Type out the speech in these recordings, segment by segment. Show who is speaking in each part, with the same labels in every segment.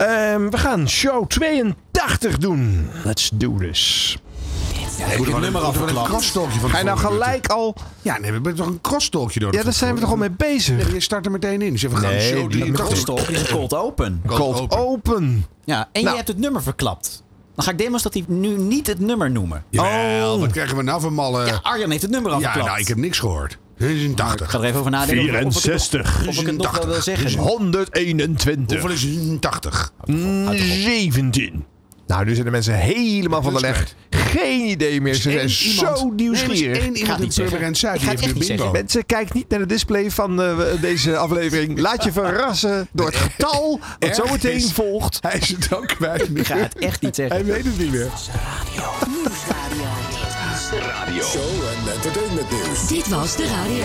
Speaker 1: Ehm, we gaan show 82 doen. Let's do this.
Speaker 2: ik heb het nummer
Speaker 3: Een
Speaker 2: afgeklapt.
Speaker 3: crosstalkje van
Speaker 1: Ga je nou
Speaker 3: tevoren
Speaker 1: gelijk al...
Speaker 3: natuurlijk. Ja, nee, we hebben toch een crosstalkje nodig.
Speaker 1: Ja, daar zijn we toch al mee bezig.
Speaker 3: Je start er meteen in. Dus even gaan
Speaker 1: Nee,
Speaker 3: show
Speaker 1: die
Speaker 3: drie-
Speaker 1: met
Speaker 3: Cross-
Speaker 2: Crosstalk is een cold open.
Speaker 1: Cold open.
Speaker 2: Ja, en
Speaker 1: Nou.
Speaker 2: je hebt het nummer verklapt. Dan ga ik demonstratief nu niet het nummer noemen.
Speaker 3: Jawel,
Speaker 1: Oh.
Speaker 3: wat krijgen we nou voor malle...
Speaker 2: Ja, Arjan heeft het nummer al
Speaker 3: Ja,
Speaker 2: verklapt.
Speaker 3: nou, ik heb niks gehoord.
Speaker 2: Ik
Speaker 3: 80.
Speaker 2: ga er even over nadenken. of ik- Of ik, het-
Speaker 1: 64.
Speaker 2: of ik het nog wel wil
Speaker 3: 80.
Speaker 2: zeggen.
Speaker 1: 121.
Speaker 3: Hoeveel is 80?
Speaker 1: 17. Nou, nu zijn de mensen helemaal van de leg.
Speaker 3: wedstrijd.
Speaker 1: Geen idee meer. Ze zijn zo
Speaker 3: Nee,
Speaker 1: nieuwsgierig.
Speaker 3: er is één
Speaker 2: Gaat
Speaker 3: iemand in
Speaker 2: niet zeggen.
Speaker 3: Purmerend Zuid.
Speaker 2: Ik ga
Speaker 3: die
Speaker 2: het
Speaker 3: heeft nu
Speaker 2: echt niet
Speaker 3: bingo.
Speaker 1: Mensen, kijk niet naar de display van eh, deze aflevering. Laat je verrassen door het getal wat zo meteen
Speaker 3: Ergens.
Speaker 1: volgt.
Speaker 3: Hij is het ook kwijt.
Speaker 2: Ik ga het echt niet zeggen.
Speaker 3: Hij weet het niet meer.
Speaker 4: Nieuwsradio.
Speaker 5: Show en entertainment nieuws.
Speaker 4: Dit was de radio.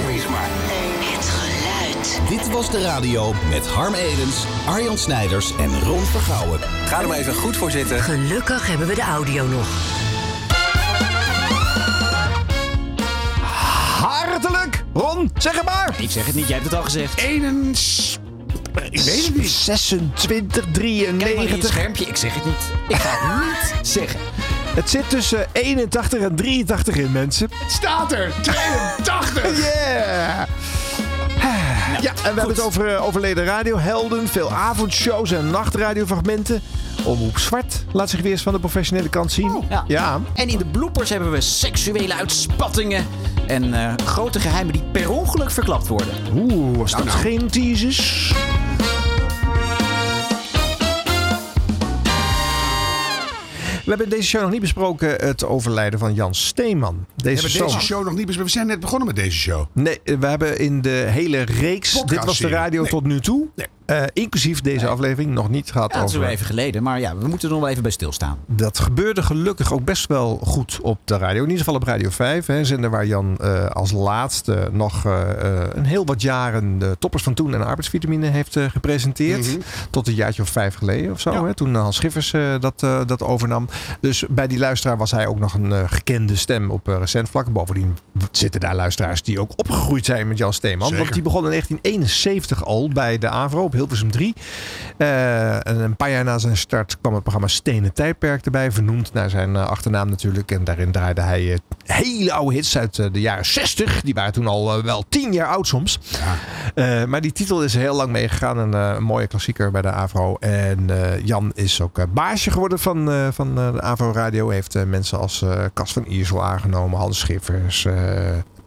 Speaker 4: Het geluid.
Speaker 6: Dit was de radio met Harm Edens, Arjan Snijders en Ron Vergouwen.
Speaker 7: Ga er maar even goed voor zitten.
Speaker 4: Gelukkig hebben we de audio nog.
Speaker 1: Hartelijk, Ron, zeg het maar.
Speaker 2: Ik zeg het niet, jij hebt het al gezegd.
Speaker 3: 91. Ik weet het niet.
Speaker 1: 26,
Speaker 2: Kijk maar in je
Speaker 1: 93.
Speaker 2: schermpje, ik zeg het niet. Ik ga het niet zeggen.
Speaker 1: Het zit tussen 81 en 83 in, mensen.
Speaker 3: Staat er. 82.
Speaker 1: Yeah! Ja, en we hebben het over eh, overleden radiohelden, veel avondshows en nachtradiofragmenten. Omroep Zwart laat zich weer eens van de professionele kant zien.
Speaker 3: Oh.
Speaker 2: Ja.
Speaker 3: Nou,
Speaker 1: ja.
Speaker 2: En in de bloopers hebben we seksuele uitspattingen. En eh, grote geheimen die per ongeluk verklapt worden.
Speaker 1: Oeh, was dat
Speaker 3: nou.
Speaker 1: geen teasers? We hebben in deze show nog niet besproken het overlijden van Jan Steeman.
Speaker 3: We
Speaker 1: Deze
Speaker 3: hebben
Speaker 1: zomer.
Speaker 3: deze show nog niet besproken. We zijn net begonnen met deze show.
Speaker 1: Nee, eh, we hebben in de hele reeks,
Speaker 3: Podcastserie.
Speaker 1: dit was de radio
Speaker 3: Nee.
Speaker 1: tot nu toe,
Speaker 3: Nee.
Speaker 1: eh, inclusief deze aflevering, nog niet gehad
Speaker 2: Ja, dat is
Speaker 1: over...
Speaker 2: weer even geleden. Maar ja, we moeten er nog wel even bij stilstaan.
Speaker 1: Dat gebeurde gelukkig ook best wel goed op de radio. In ieder geval op Radio 5. Hè, zender waar Jan eh, als laatste nog eh, eh, een heel wat jaren de toppers van toen en arbeidsvitamine heeft eh, gepresenteerd. Tot een jaartje of vijf geleden of zo. Hè, toen Hans Schiffers eh, dat, eh, dat overnam. Dus bij die luisteraar was hij ook nog een eh, gekende stem op eh, recent vlak. Bovendien zitten daar luisteraars die ook opgegroeid zijn met Jan Steeman.
Speaker 3: Zeker.
Speaker 1: Want die begon in 1971 al bij de AVRO op Hilversum 3. Eh, en een paar jaar na zijn start kwam het programma Stenen Tijdperk erbij. Vernoemd naar zijn eh, achternaam natuurlijk. En daarin draaide hij eh, hele oude hits uit eh, de jaren 60. Die waren toen al eh, wel tien jaar oud soms. Eh, maar die titel is er heel lang meegegaan. Een eh, mooie klassieker bij de AVRO. En eh, Jan is ook eh, baasje geworden van, eh, van eh, de AVRO Radio. Heeft eh, mensen als eh Cas van Iersel aangenomen. Hans Schiffers. eh,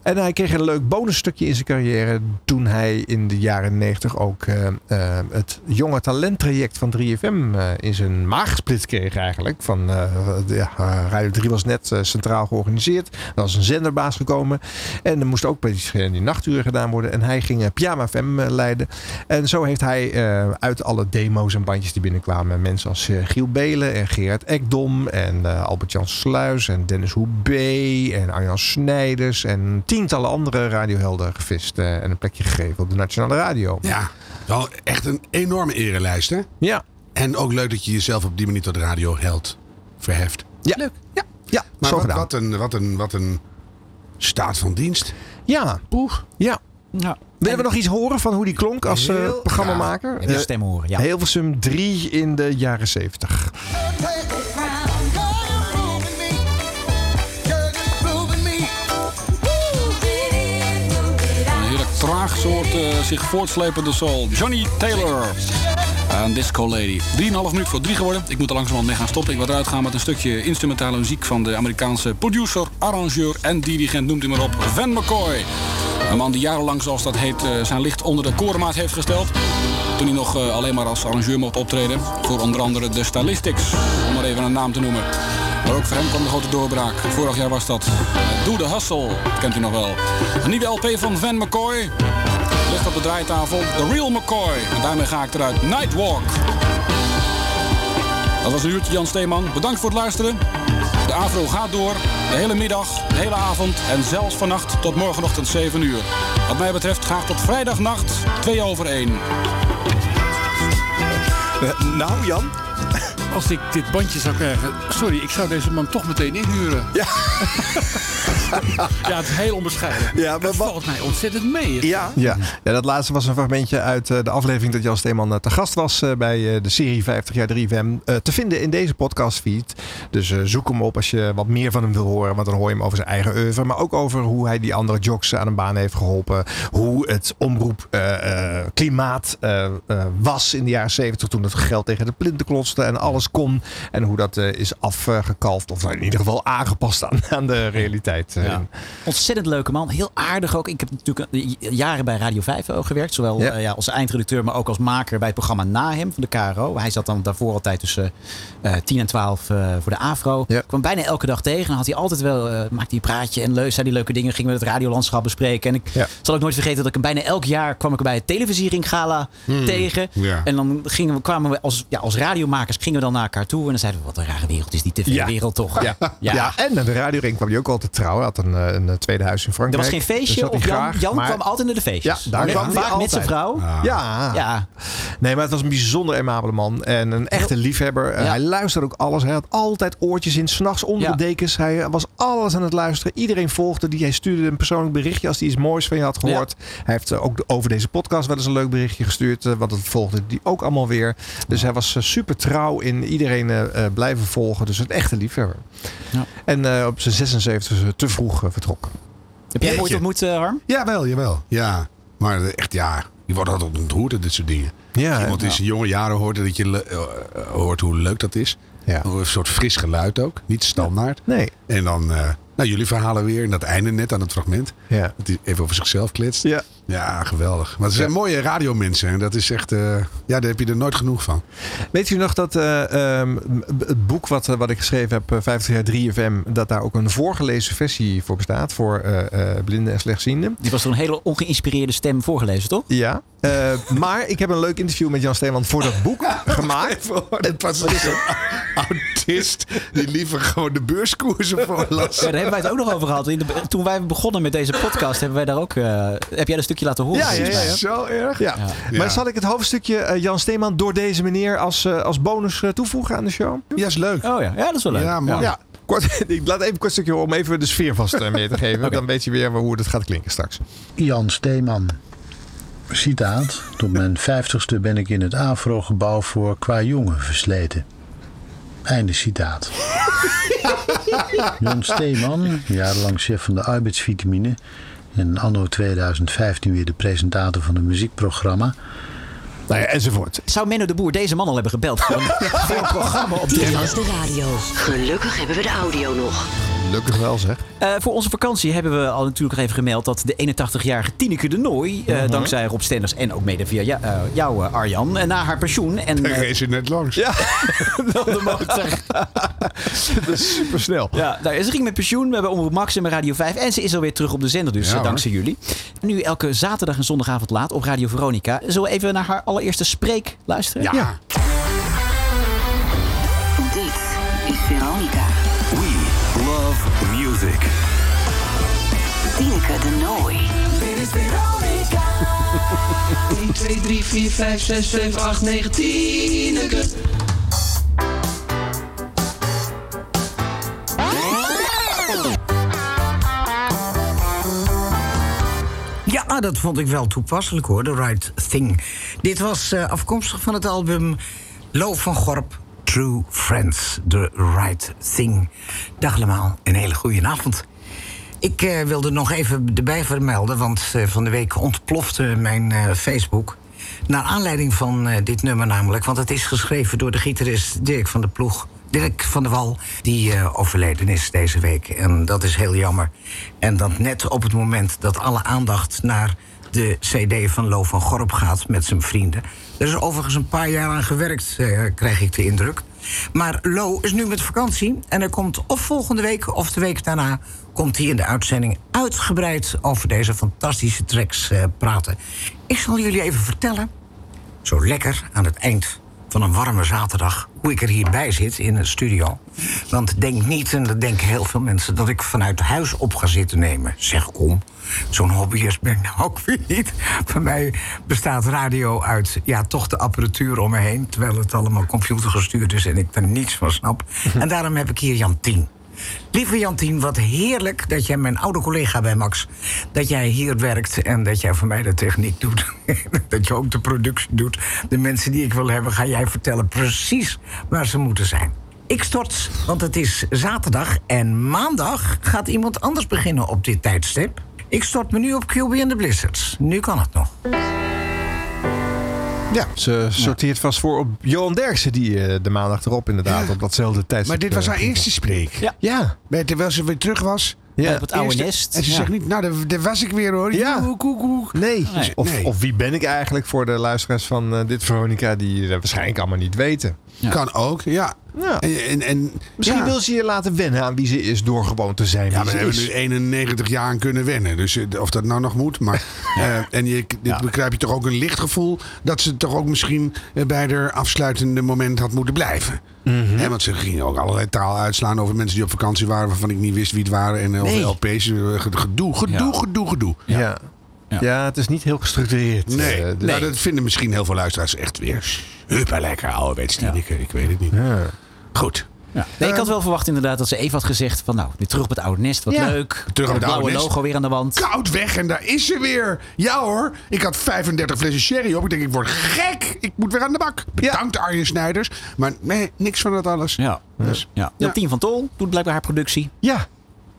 Speaker 1: en hij kreeg een leuk bonusstukje in zijn carrière toen hij in de jaren 90 ook eh, eh, het jonge talenttraject van 3FM eh, in zijn maag gesplit kreeg eigenlijk. Van, eh, ja, eh, Radio 3 was net eh, centraal georganiseerd. Er was een zenderbaas gekomen. En er moest ook bij die, die nachturen gedaan worden. En hij ging eh, Pyjama FM eh, leiden. En zo heeft hij eh, uit alle demo's en bandjes die binnenkwamen... mensen als eh, Giel Belen en Gerard Ekdom en eh, Albert-Jan Sluis en Dennis Hoebe en Arjan Snijders... en tientallen andere radiohelden gevist eh, en een plekje gegeven op de Nationale Radio.
Speaker 3: Ja. Wel echt een enorme erenlijst, hè?
Speaker 1: Ja,
Speaker 3: En ook leuk dat je jezelf op die manier tot radio held verheft.
Speaker 1: ja. leuk. Ja, ja
Speaker 3: Maar
Speaker 1: zo
Speaker 3: wat,
Speaker 1: gedaan.
Speaker 3: wat, een, wat, een, wat een staat van dienst.
Speaker 1: Ja, ja.
Speaker 2: Ja.
Speaker 1: Willen we nog iets horen van hoe die klonk als eh,
Speaker 3: Heel
Speaker 1: programmamaker?
Speaker 2: En die
Speaker 1: Eh,
Speaker 2: stem horen, ja.
Speaker 1: Hilversum 3 in de jaren 70.
Speaker 8: Een heerlijk traag soort eh, zich voortslepende soul. Johnny Taylor. Een disco lady. 3,5 minuut voor 3 geworden. Ik moet er langzamerhand mee gaan stoppen. Ik wil eruit gaan met een stukje instrumentale muziek van de Amerikaanse producer, arrangeur en dirigent, noemt u maar op, Van McCoy. Een man die jarenlang, zoals dat heet, eh, zijn licht onder de korenmaat heeft gesteld. Toen hij nog eh, alleen maar als arrangeur mocht optreden. Voor onder andere de Stylistics, om maar even een naam te noemen. Maar ook voor hem kwam de grote doorbraak. Vorig jaar was dat. eh, Doe de Hustle, dat kent u nog wel. Een nieuwe LP van Van McCoy. Ligt op de draaitafel. The Real McCoy. En daarmee ga ik eruit. Nightwalk. Dat was een uurtje Jan Steeman. Bedankt voor het luisteren. De Avro gaat door. De hele middag, de hele avond en zelfs vannacht tot morgenochtend 7 uur. Wat mij betreft graag tot vrijdagnacht 2 over 1.
Speaker 1: nou Jan,
Speaker 8: Als ik dit bandje zou krijgen. Sorry, ik zou deze man toch meteen inhuren. Ja, het is heel onbescheiden.
Speaker 7: Ja,
Speaker 8: Ja,
Speaker 7: maar
Speaker 8: maar, dat
Speaker 7: wat-
Speaker 8: valt mij ontzettend mee.
Speaker 7: Ja.
Speaker 1: Ja. ja, dat laatste was een fragmentje uit eh, de aflevering dat Jan Steeman eh, te gast was eh, bij eh, de serie 50 jaar 3FM. eh, te vinden in deze podcastfeed. Dus eh, zoek hem op als je wat meer van hem wil horen. Want dan hoor je hem over zijn eigen oeuvre. Maar ook over hoe hij die andere jocks aan een baan heeft geholpen. Hoe het eh, omroepklimaat eh, was in de jaren 70 toen het geld tegen de plinten klotste en alles kon. En hoe dat eh, is afgekalfd of in ieder geval aangepast aan, aan de realiteit. eh.
Speaker 2: Ja. Ontzettend leuke man. Heel aardig ook. Ik heb natuurlijk eh, jaren bij Radio 5 ook gewerkt. Zowel
Speaker 1: Ja.
Speaker 2: eh, ja, als eindredacteur, maar ook als maker bij het programma Na hem van de KRO. Hij zat dan daarvoor altijd tussen eh 10 en 12 eh, voor de AFRO.
Speaker 1: Ja.
Speaker 2: Ik kwam bijna elke dag tegen. En had hij altijd wel, eh, maakte hij een praatje en leus, zei die leuke dingen. Gingen we het radiolandschap bespreken. En ik
Speaker 1: Ja.
Speaker 2: zal ook nooit vergeten dat ik hem bijna elk jaar kwam ik hem bij het televisiering gala
Speaker 1: Hmm.
Speaker 2: tegen.
Speaker 3: ja.
Speaker 2: En dan gingen we, kwamen we als, ja, als radiomakers gingen we dan naar elkaar toe. En dan zeiden we, wat een rare wereld is die tv-wereld toch.
Speaker 1: Ja. Ja. en naar de radioring kwam hij ook altijd trouw. Hij had een, eh, een tweede huis in
Speaker 2: Er
Speaker 1: Frankrijk.
Speaker 2: was geen feestje.
Speaker 1: Daar zat
Speaker 2: of
Speaker 1: hij
Speaker 2: Jan,
Speaker 1: graag,
Speaker 2: Jan
Speaker 1: maar-
Speaker 2: kwam altijd naar de feestjes.
Speaker 1: Ja, daar
Speaker 2: Met-
Speaker 1: kwam hij
Speaker 2: vaak met
Speaker 1: altijd. Ah.
Speaker 2: zijn vrouw.
Speaker 1: Ja.
Speaker 2: Ja,
Speaker 1: nee, maar het was een bijzonder emabele man en een echte liefhebber. Eh,
Speaker 2: Ja.
Speaker 1: Hij luisterde ook alles. Hij had altijd oortjes in, s'nachts onder
Speaker 2: Ja.
Speaker 1: de dekens. Hij eh, was alles aan het luisteren. Iedereen volgde die. Hij stuurde een persoonlijk berichtje als hij iets moois van je had gehoord. Hij heeft eh, ook de- over deze podcast wel eens een leuk berichtje gestuurd, eh, want dat volgde die ook allemaal weer. Dus hij was eh, super trouw in iedereen eh, eh, blijven volgen. Dus een echte liefhebber.
Speaker 2: Ja.
Speaker 1: En eh, op zijn 76 te vroeg eh, vertrokken.
Speaker 2: Heb jij hem ooit ontmoet, eh, Harm?
Speaker 3: Jawel, jawel. Ja, maar echt ja, je wordt altijd ontroerd door dit soort dingen.
Speaker 1: Ja,
Speaker 3: Iemand in zijn jonge jaren hoort en dat je le- eh, eh, hoort hoe leuk dat is.
Speaker 1: Ja.
Speaker 3: Een soort fris geluid ook, niet standaard.
Speaker 1: Nee.
Speaker 3: En dan, eh, nou jullie verhalen weer en dat einde net aan het fragment.
Speaker 1: Ja.
Speaker 3: Dat hij even over zichzelf kletst.
Speaker 1: Ja.
Speaker 3: Ja, geweldig. Maar ze zijn mooie radiomensen en dat is echt, eh, ja, daar heb je er nooit genoeg van.
Speaker 1: Weet u nog dat eh, ehm, b- het boek wat, eh, wat ik geschreven heb, eh, 50 jaar 3FM, dat daar ook een voorgelezen versie voor bestaat voor eh, eh, blinden en slechtzienden?
Speaker 2: Die was door een hele ongeïnspireerde stem voorgelezen, toch?
Speaker 1: Ja, eh, maar ik heb een leuk interview met Jan Steeman voor dat boek gemaakt.
Speaker 3: Het was een autist die liever gewoon de beurskoersen
Speaker 2: Ja,
Speaker 3: voorlas.
Speaker 2: daar hebben wij het ook nog over gehad. In de- toen wij begonnen met deze podcast, hebben wij daar ook. eh, heb jij een stukje laten horen?
Speaker 1: Ja, ja,
Speaker 2: volgens
Speaker 1: ja,
Speaker 2: mij.
Speaker 1: ja.
Speaker 3: Zo erg.
Speaker 1: Ja. Maar zal ik het hoofdstukje eh, Jan Steeman door deze meneer als, eh, als bonus eh, toevoegen aan de show?
Speaker 3: Ja, is leuk.
Speaker 2: Oh ja. ja, dat is wel leuk.
Speaker 3: Ja, man.
Speaker 1: Ja, kort, ik laat even een kort stukje horen om even de sfeer vast eh, mee te geven. Dan weet je weer hoe het gaat klinken straks.
Speaker 9: Jan Steeman. Citaat. Tot mijn vijftigste ben ik in het AVRO-gebouw voor qua jongen versleten. Einde citaat. Jan Steeman, jarenlang chef van de arbeidsvitamine... en anno 2015 weer de presentator van een muziekprogramma...
Speaker 1: Nou ja, enzovoort.
Speaker 2: Zou Menno de Boer deze man al hebben gebeld? Gewoon voor een programma op dit
Speaker 10: Dit is de radio.
Speaker 4: Gelukkig hebben we de audio nog.
Speaker 1: Gelukkig wel zeg.
Speaker 2: Eh, voor onze vakantie hebben we al natuurlijk nog even gemeld dat de 81-jarige Tineke de Nooi, eh,
Speaker 3: Mhm.
Speaker 2: dankzij Rob Stenders en ook mede via ja- eh, jou, eh, Arjan, eh, na haar pensioen en
Speaker 3: Daar
Speaker 2: eh,
Speaker 3: reed je net langs.
Speaker 2: wel de motor.
Speaker 1: Super snel.
Speaker 2: Ja, nou, ja, ze ging met pensioen. We hebben Omroep Max en bij Radio 5. En ze is alweer terug op de zender, dus
Speaker 3: Ja,
Speaker 2: eh, dankzij jullie. Nu elke zaterdag en zondagavond laat op Radio Veronica. Zullen we even naar haar allereerste spreek luisteren?
Speaker 3: Ja.
Speaker 4: Dit is Veronica.
Speaker 6: We love music.
Speaker 4: Tineke de Nooi.
Speaker 11: 1, 2, 3, 4, 5, 6, 7, 8, 9, 10.
Speaker 10: Ja, ah, dat vond ik wel toepasselijk hoor, The Right Thing. Dit was eh, afkomstig van het album Lo van Gorp, True Friends, The Right Thing. Dag allemaal, een hele goede avond. Ik eh, wilde nog even erbij vermelden, want eh, van de week ontplofte mijn eh, Facebook. Naar aanleiding van eh, dit nummer namelijk, want het is geschreven door de gitarist Dirk van de Ploeg. Dirk van de Wal, die eh, overleden is deze week. En dat is heel jammer. En dat net op het moment dat alle aandacht naar de CD van Lo van Gorp gaat met zijn vrienden. Er is overigens een paar jaar aan gewerkt, eh, krijg ik de indruk. Maar Lo is nu met vakantie en er komt of volgende week of de week daarna... komt hij in de uitzending uitgebreid over deze fantastische tracks eh, praten. Ik zal jullie even vertellen, zo lekker aan het eind van een warme zaterdag hoe ik er hierbij zit in een studio. Want denk niet, en dat denken heel veel mensen, dat ik vanuit huis op ga zitten nemen. Zeg kom, zo'n hobbyist ben ik nou ook weer niet. Voor mij bestaat radio uit ja, toch de apparatuur om me heen. Terwijl het allemaal computergestuurd is en ik er niets van snap. En daarom heb ik hier Jantien. Lieve Jantien, wat heerlijk dat jij mijn oude collega bij Max... dat jij hier werkt en dat jij voor mij de techniek doet. dat je ook de productie doet. De mensen die ik wil hebben, ga jij vertellen precies waar ze moeten zijn. Ik stort, want het is zaterdag en maandag gaat iemand anders beginnen op dit tijdstip. Ik stort me nu op QB en de Blizzards. Nu kan het nog.
Speaker 1: Ja, ze sorteert vast voor op Johan Derksen, die eh, de maandag erop inderdaad op datzelfde tijdstip.
Speaker 3: Maar dit was
Speaker 1: eh,
Speaker 3: haar
Speaker 1: ging.
Speaker 3: eerste spreek.
Speaker 2: Ja.
Speaker 1: Ja,
Speaker 3: Bij- Terwijl ze weer terug was.
Speaker 1: ja.
Speaker 2: Op het oude
Speaker 3: Eerste-
Speaker 2: nest.
Speaker 3: En ze
Speaker 2: Ja.
Speaker 3: zegt niet, nou, daar- daar was ik weer hoor.
Speaker 1: Ja.
Speaker 3: Joe, koek, koek.
Speaker 1: Nee. Dus
Speaker 2: Nee.
Speaker 1: Of,
Speaker 3: Nee.
Speaker 1: of wie ben ik eigenlijk voor de luisteraars van eh, dit Veronica, die dat waarschijnlijk allemaal niet weten.
Speaker 2: Ja.
Speaker 3: Kan ook, ja.
Speaker 1: Ja.
Speaker 3: En, en, en,
Speaker 1: Misschien
Speaker 3: ja.
Speaker 1: wil ze je laten wennen aan wie ze is door gewoon te zijn wie
Speaker 3: Ja, maar
Speaker 1: ze
Speaker 3: daar hebben
Speaker 1: is.
Speaker 3: we nu 91 jaar aan kunnen wennen. Dus eh, of dat nou nog moet. Maar, eh, en je, dit begrijp je toch ook een licht gevoel... dat ze toch ook misschien eh, bij haar afsluitende moment had moeten blijven.
Speaker 1: Mhm.
Speaker 3: Hè, want ze gingen ook allerlei taal uitslaan over mensen die op vakantie waren... waarvan ik niet wist wie het waren. En eh, over
Speaker 1: Nee.
Speaker 3: LP's. eh, Gedoe, gedoe, gedoe, gedoe.
Speaker 1: Ja. Ja. het is niet heel gestructureerd.
Speaker 3: Nee,
Speaker 1: Eh, dus-
Speaker 3: Nou, dat vinden misschien heel veel luisteraars echt weer super lekker ouderwets Tineke. Ik weet het niet.
Speaker 1: Ja.
Speaker 3: Goed.
Speaker 2: Nee, ik had wel verwacht inderdaad dat ze even had gezegd van nou, weer terug op het oude nest, wat
Speaker 1: Ja.
Speaker 2: leuk.
Speaker 3: op
Speaker 2: het
Speaker 3: het oude
Speaker 2: blauwe
Speaker 3: nest.
Speaker 2: logo weer aan de wand.
Speaker 3: Koud weg en daar is ze weer. Ja hoor, ik had 35 flessen sherry op. Ik denk, ik word gek. Ik moet weer aan de bak. Bedankt Arjen Snijders. Maar nee, niks van dat alles.
Speaker 2: Ja.
Speaker 3: Dus,
Speaker 2: Ja.
Speaker 3: Ja.
Speaker 2: Jantien van Tol doet blijkbaar haar productie.
Speaker 1: Ja.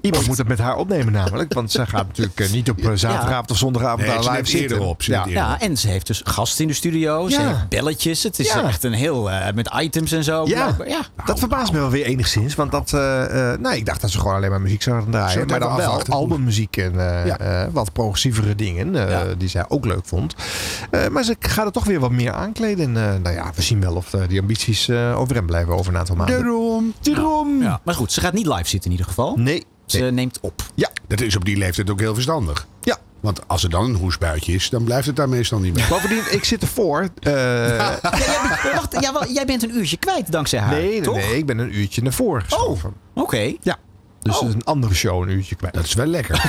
Speaker 1: Iemand moet het met haar opnemen nou. namelijk. Want zij gaat natuurlijk eh, niet op eh, zaterdagavond of zondagavond
Speaker 3: Nee, ze
Speaker 1: daar
Speaker 3: neemt
Speaker 1: live
Speaker 3: eerder
Speaker 1: zitten.
Speaker 3: op, ze
Speaker 1: Ja.
Speaker 3: neemt eerder
Speaker 2: Ja, en ze heeft dus gasten in de studio. Ze
Speaker 1: Ja.
Speaker 2: heeft belletjes. Het is
Speaker 1: Ja.
Speaker 2: echt een heel, eh, met items en zo.
Speaker 1: Ja,
Speaker 3: Nou,
Speaker 2: blijkbaar. ja.
Speaker 1: dat verbaast me wel weer enigszins. Want dat, eh, eh, nou, ik dacht dat ze gewoon alleen maar muziek zouden draaien.
Speaker 3: Zullen we
Speaker 1: maar dan
Speaker 3: even
Speaker 1: wel
Speaker 3: afwachten?
Speaker 1: albummuziek en eh,
Speaker 3: Ja.
Speaker 1: eh, wat progressievere dingen. eh,
Speaker 2: Ja.
Speaker 1: Die zij ook leuk vond. Eh, maar ze gaat het toch weer wat meer aankleden. En eh, nou ja, we zien wel of eh, die ambities eh overeind blijven over een aantal maanden.
Speaker 3: Daarom.
Speaker 1: Daarom.
Speaker 2: Ja. Maar goed, ze gaat niet live zitten in ieder geval.
Speaker 1: Nee.
Speaker 2: Ze neemt op.
Speaker 3: Dat is op die leeftijd ook heel verstandig.
Speaker 1: Ja.
Speaker 3: Want als er dan een hoesbuitje is, dan blijft het daar meestal niet bij.
Speaker 1: Bovendien, ik zit ervoor. Eh,
Speaker 2: Ja, jij, bent- wacht, ja, wel, Oh, jij bent een uurtje kwijt dankzij haar,
Speaker 1: nee, nee,
Speaker 2: toch?
Speaker 1: nee, ik ben een uurtje naar voren
Speaker 2: Oh,
Speaker 1: geschoven.
Speaker 2: oké.
Speaker 1: Ja. Dus
Speaker 2: Oh.
Speaker 1: het is een andere show een uurtje kwijt.
Speaker 3: Dat is wel lekker.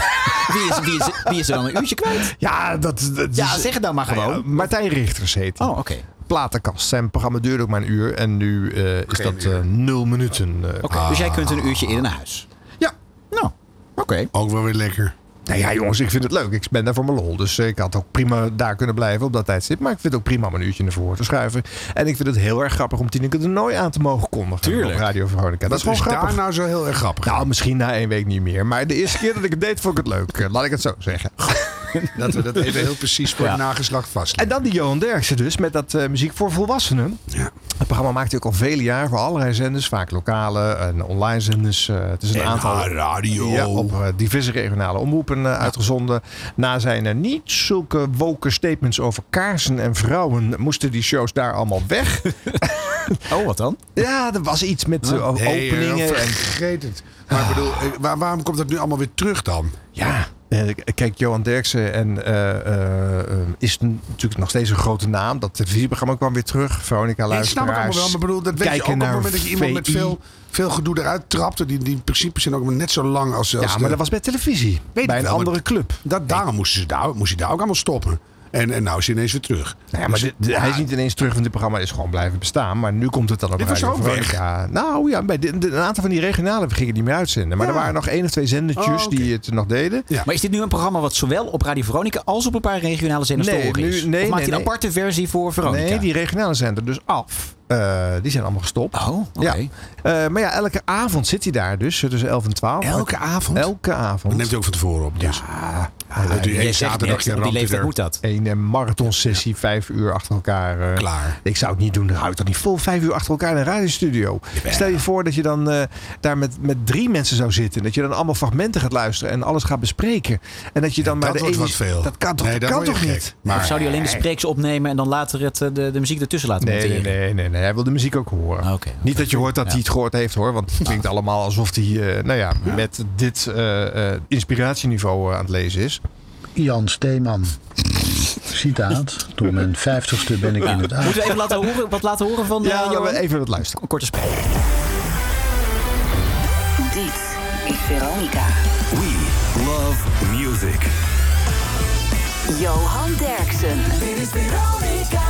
Speaker 2: Wie, is, wie, is, wie is er dan een uurtje kwijt?
Speaker 1: Ja, dat, dat
Speaker 2: Ja,
Speaker 1: is-
Speaker 2: zeg het nou maar
Speaker 1: Nou ja,
Speaker 2: gewoon.
Speaker 1: Martijn Richters heet hij.
Speaker 2: Oh, oké.
Speaker 1: platenkast. Zijn programma duurde ook maar een uur. En nu eh, is
Speaker 3: Geen
Speaker 1: dat
Speaker 3: uur.
Speaker 1: eh, nul minuten. eh.
Speaker 2: Oké,
Speaker 3: Ah.
Speaker 2: Dus jij kunt een uurtje eerder naar huis.
Speaker 1: Ja.
Speaker 2: Nou, oké.
Speaker 3: Ook wel weer lekker.
Speaker 1: Nou ja, jongens, ik vind het leuk. Ik ben daar voor mijn lol. Dus eh, ik had ook prima daar kunnen blijven op dat tijdstip. Maar ik vind het ook prima om een uurtje naar voren te schuiven. En ik vind het heel erg grappig om Tineke de Nooi aan te mogen kondigen.
Speaker 2: Tuurlijk.
Speaker 1: Op Radio Veronica. Dat is gewoon
Speaker 3: Wat
Speaker 1: grappig.
Speaker 3: daar nou zo heel erg grappig?
Speaker 1: Nou, misschien na één week niet meer. Maar de eerste keer dat ik het deed, vond ik het leuk. Eh, Laat ik het zo zeggen.
Speaker 3: Dat we dat even heel precies voor
Speaker 2: Ja.
Speaker 3: het nageslacht vastleggen.
Speaker 1: En dan die Johan Derksen dus, met dat eh, muziek voor volwassenen. Het programma maakt hij ook al vele jaren voor allerlei zenders. Vaak lokale en online zenders. Eh, het is een aantal...
Speaker 3: radio.
Speaker 1: Ja, op eh, diverse regionale omroepen eh, uitgezonden. Na zijn er niet zulke woke statements over kaarsen en vrouwen, moesten die shows daar allemaal weg.
Speaker 2: Oh, wat dan?
Speaker 1: ja, er was iets met eh,
Speaker 3: Nee,
Speaker 1: openingen.
Speaker 3: eh,
Speaker 1: En,
Speaker 3: Vergeet het. Maar ik bedoel, eh, waar- waarom komt dat nu allemaal weer terug dan?
Speaker 1: ja, eh, k- kijk, Johan Derksen en, eh, eh, eh, is n- natuurlijk nog steeds een grote naam. Dat televisieprogramma kwam weer terug. Veronica
Speaker 3: Nee, dat snap ik allemaal
Speaker 1: Luisteraars.
Speaker 3: wel, maar ik bedoel, dat weet je
Speaker 1: kijken
Speaker 3: ook op het
Speaker 1: naar
Speaker 3: moment dat je iemand met
Speaker 1: VI.
Speaker 3: veel, veel gedoe eruit trapt. Die, die principes zijn ook maar net zo lang als... als
Speaker 1: Ja,
Speaker 3: de-
Speaker 1: maar dat was bij televisie.
Speaker 3: ik
Speaker 1: bij een
Speaker 3: wel, maar-
Speaker 1: andere club.
Speaker 3: dat, daarom moesten ze daar, moest hij daar ook allemaal stoppen. En, en nou is hij ineens weer terug. Dus
Speaker 1: Nou ja, maar dit- dit- hij is niet ineens terug, want dit programma is gewoon blijven bestaan. Maar nu komt het dan op
Speaker 3: Dit was
Speaker 1: Radio
Speaker 3: ook weg.
Speaker 1: Veronica. Nou ja, bij dit- een aantal van die regionale gingen die meer uitzenden. Maar
Speaker 3: Ja.
Speaker 1: er waren nog één of twee zendertjes
Speaker 3: Oh, oké.
Speaker 1: die het nog deden.
Speaker 3: Ja.
Speaker 2: Maar is dit nu een programma wat zowel op Radio Veronica als op een paar regionale zenders
Speaker 1: Nee,
Speaker 2: te horen is?
Speaker 1: nu- nee,
Speaker 2: of maakt
Speaker 1: nee,
Speaker 2: hij een
Speaker 1: nee.
Speaker 2: aparte versie voor Veronica?
Speaker 1: Nee, die regionale zender dus af. Eh, die zijn allemaal gestopt.
Speaker 2: Oh, oké.
Speaker 1: Ja. Eh, maar ja, elke avond zit hij daar dus, eh, tussen 11 en 12.
Speaker 3: Elke avond?
Speaker 1: Elke
Speaker 3: Dat
Speaker 1: avond.
Speaker 3: neemt hij ook van tevoren op. Dus. Ja. die ene
Speaker 2: Jij zegt net,
Speaker 3: zaterdag
Speaker 2: op die
Speaker 3: ramt hij
Speaker 2: leeftijd
Speaker 3: er
Speaker 2: moet dat.
Speaker 1: Een eh, marathonsessie, vijf uur achter elkaar. eh.
Speaker 3: klaar.
Speaker 1: Ik zou het niet doen. Dan hou ik toch niet vol vijf uur achter elkaar in een radiostudio. Stel je voor dat je dan eh, daar met, met drie mensen zou zitten. Dat je dan allemaal fragmenten gaat luisteren en alles gaat bespreken. En dat je dan maar
Speaker 3: dat
Speaker 1: de
Speaker 3: wordt
Speaker 1: ene-
Speaker 3: wat veel.
Speaker 1: Dat kan toch,
Speaker 3: Nee,
Speaker 1: dat
Speaker 3: daar
Speaker 1: kan
Speaker 3: word
Speaker 1: toch
Speaker 3: je gek.
Speaker 1: niet?
Speaker 2: Of
Speaker 3: Maar
Speaker 2: zou hij alleen de spreeks opnemen en dan later het, eh, de, de muziek ertussen laten
Speaker 1: Nee, nee,
Speaker 2: monteren? Ah,
Speaker 1: nee, nee, nee. Hij wil de muziek ook horen.
Speaker 2: Oké, oké.
Speaker 1: Niet dat je hoort dat
Speaker 2: Ja.
Speaker 1: hij het gehoord heeft hoor. Want het klinkt allemaal alsof hij eh, nou ja, met dit eh, eh, inspiratieniveau eh, aan het lezen is.
Speaker 9: Jan Steeman. Citaat. Door mijn vijftigste ben ik in het
Speaker 2: Moeten we
Speaker 9: aard.
Speaker 2: even laten horen, wat laten horen van eh,
Speaker 9: Ja,
Speaker 2: Johan?
Speaker 9: laten we
Speaker 1: even wat luisteren.
Speaker 2: Een korte spel.
Speaker 7: Dit is Veronica.
Speaker 12: We love music.
Speaker 7: Johan Derksen. Dit is Veronica.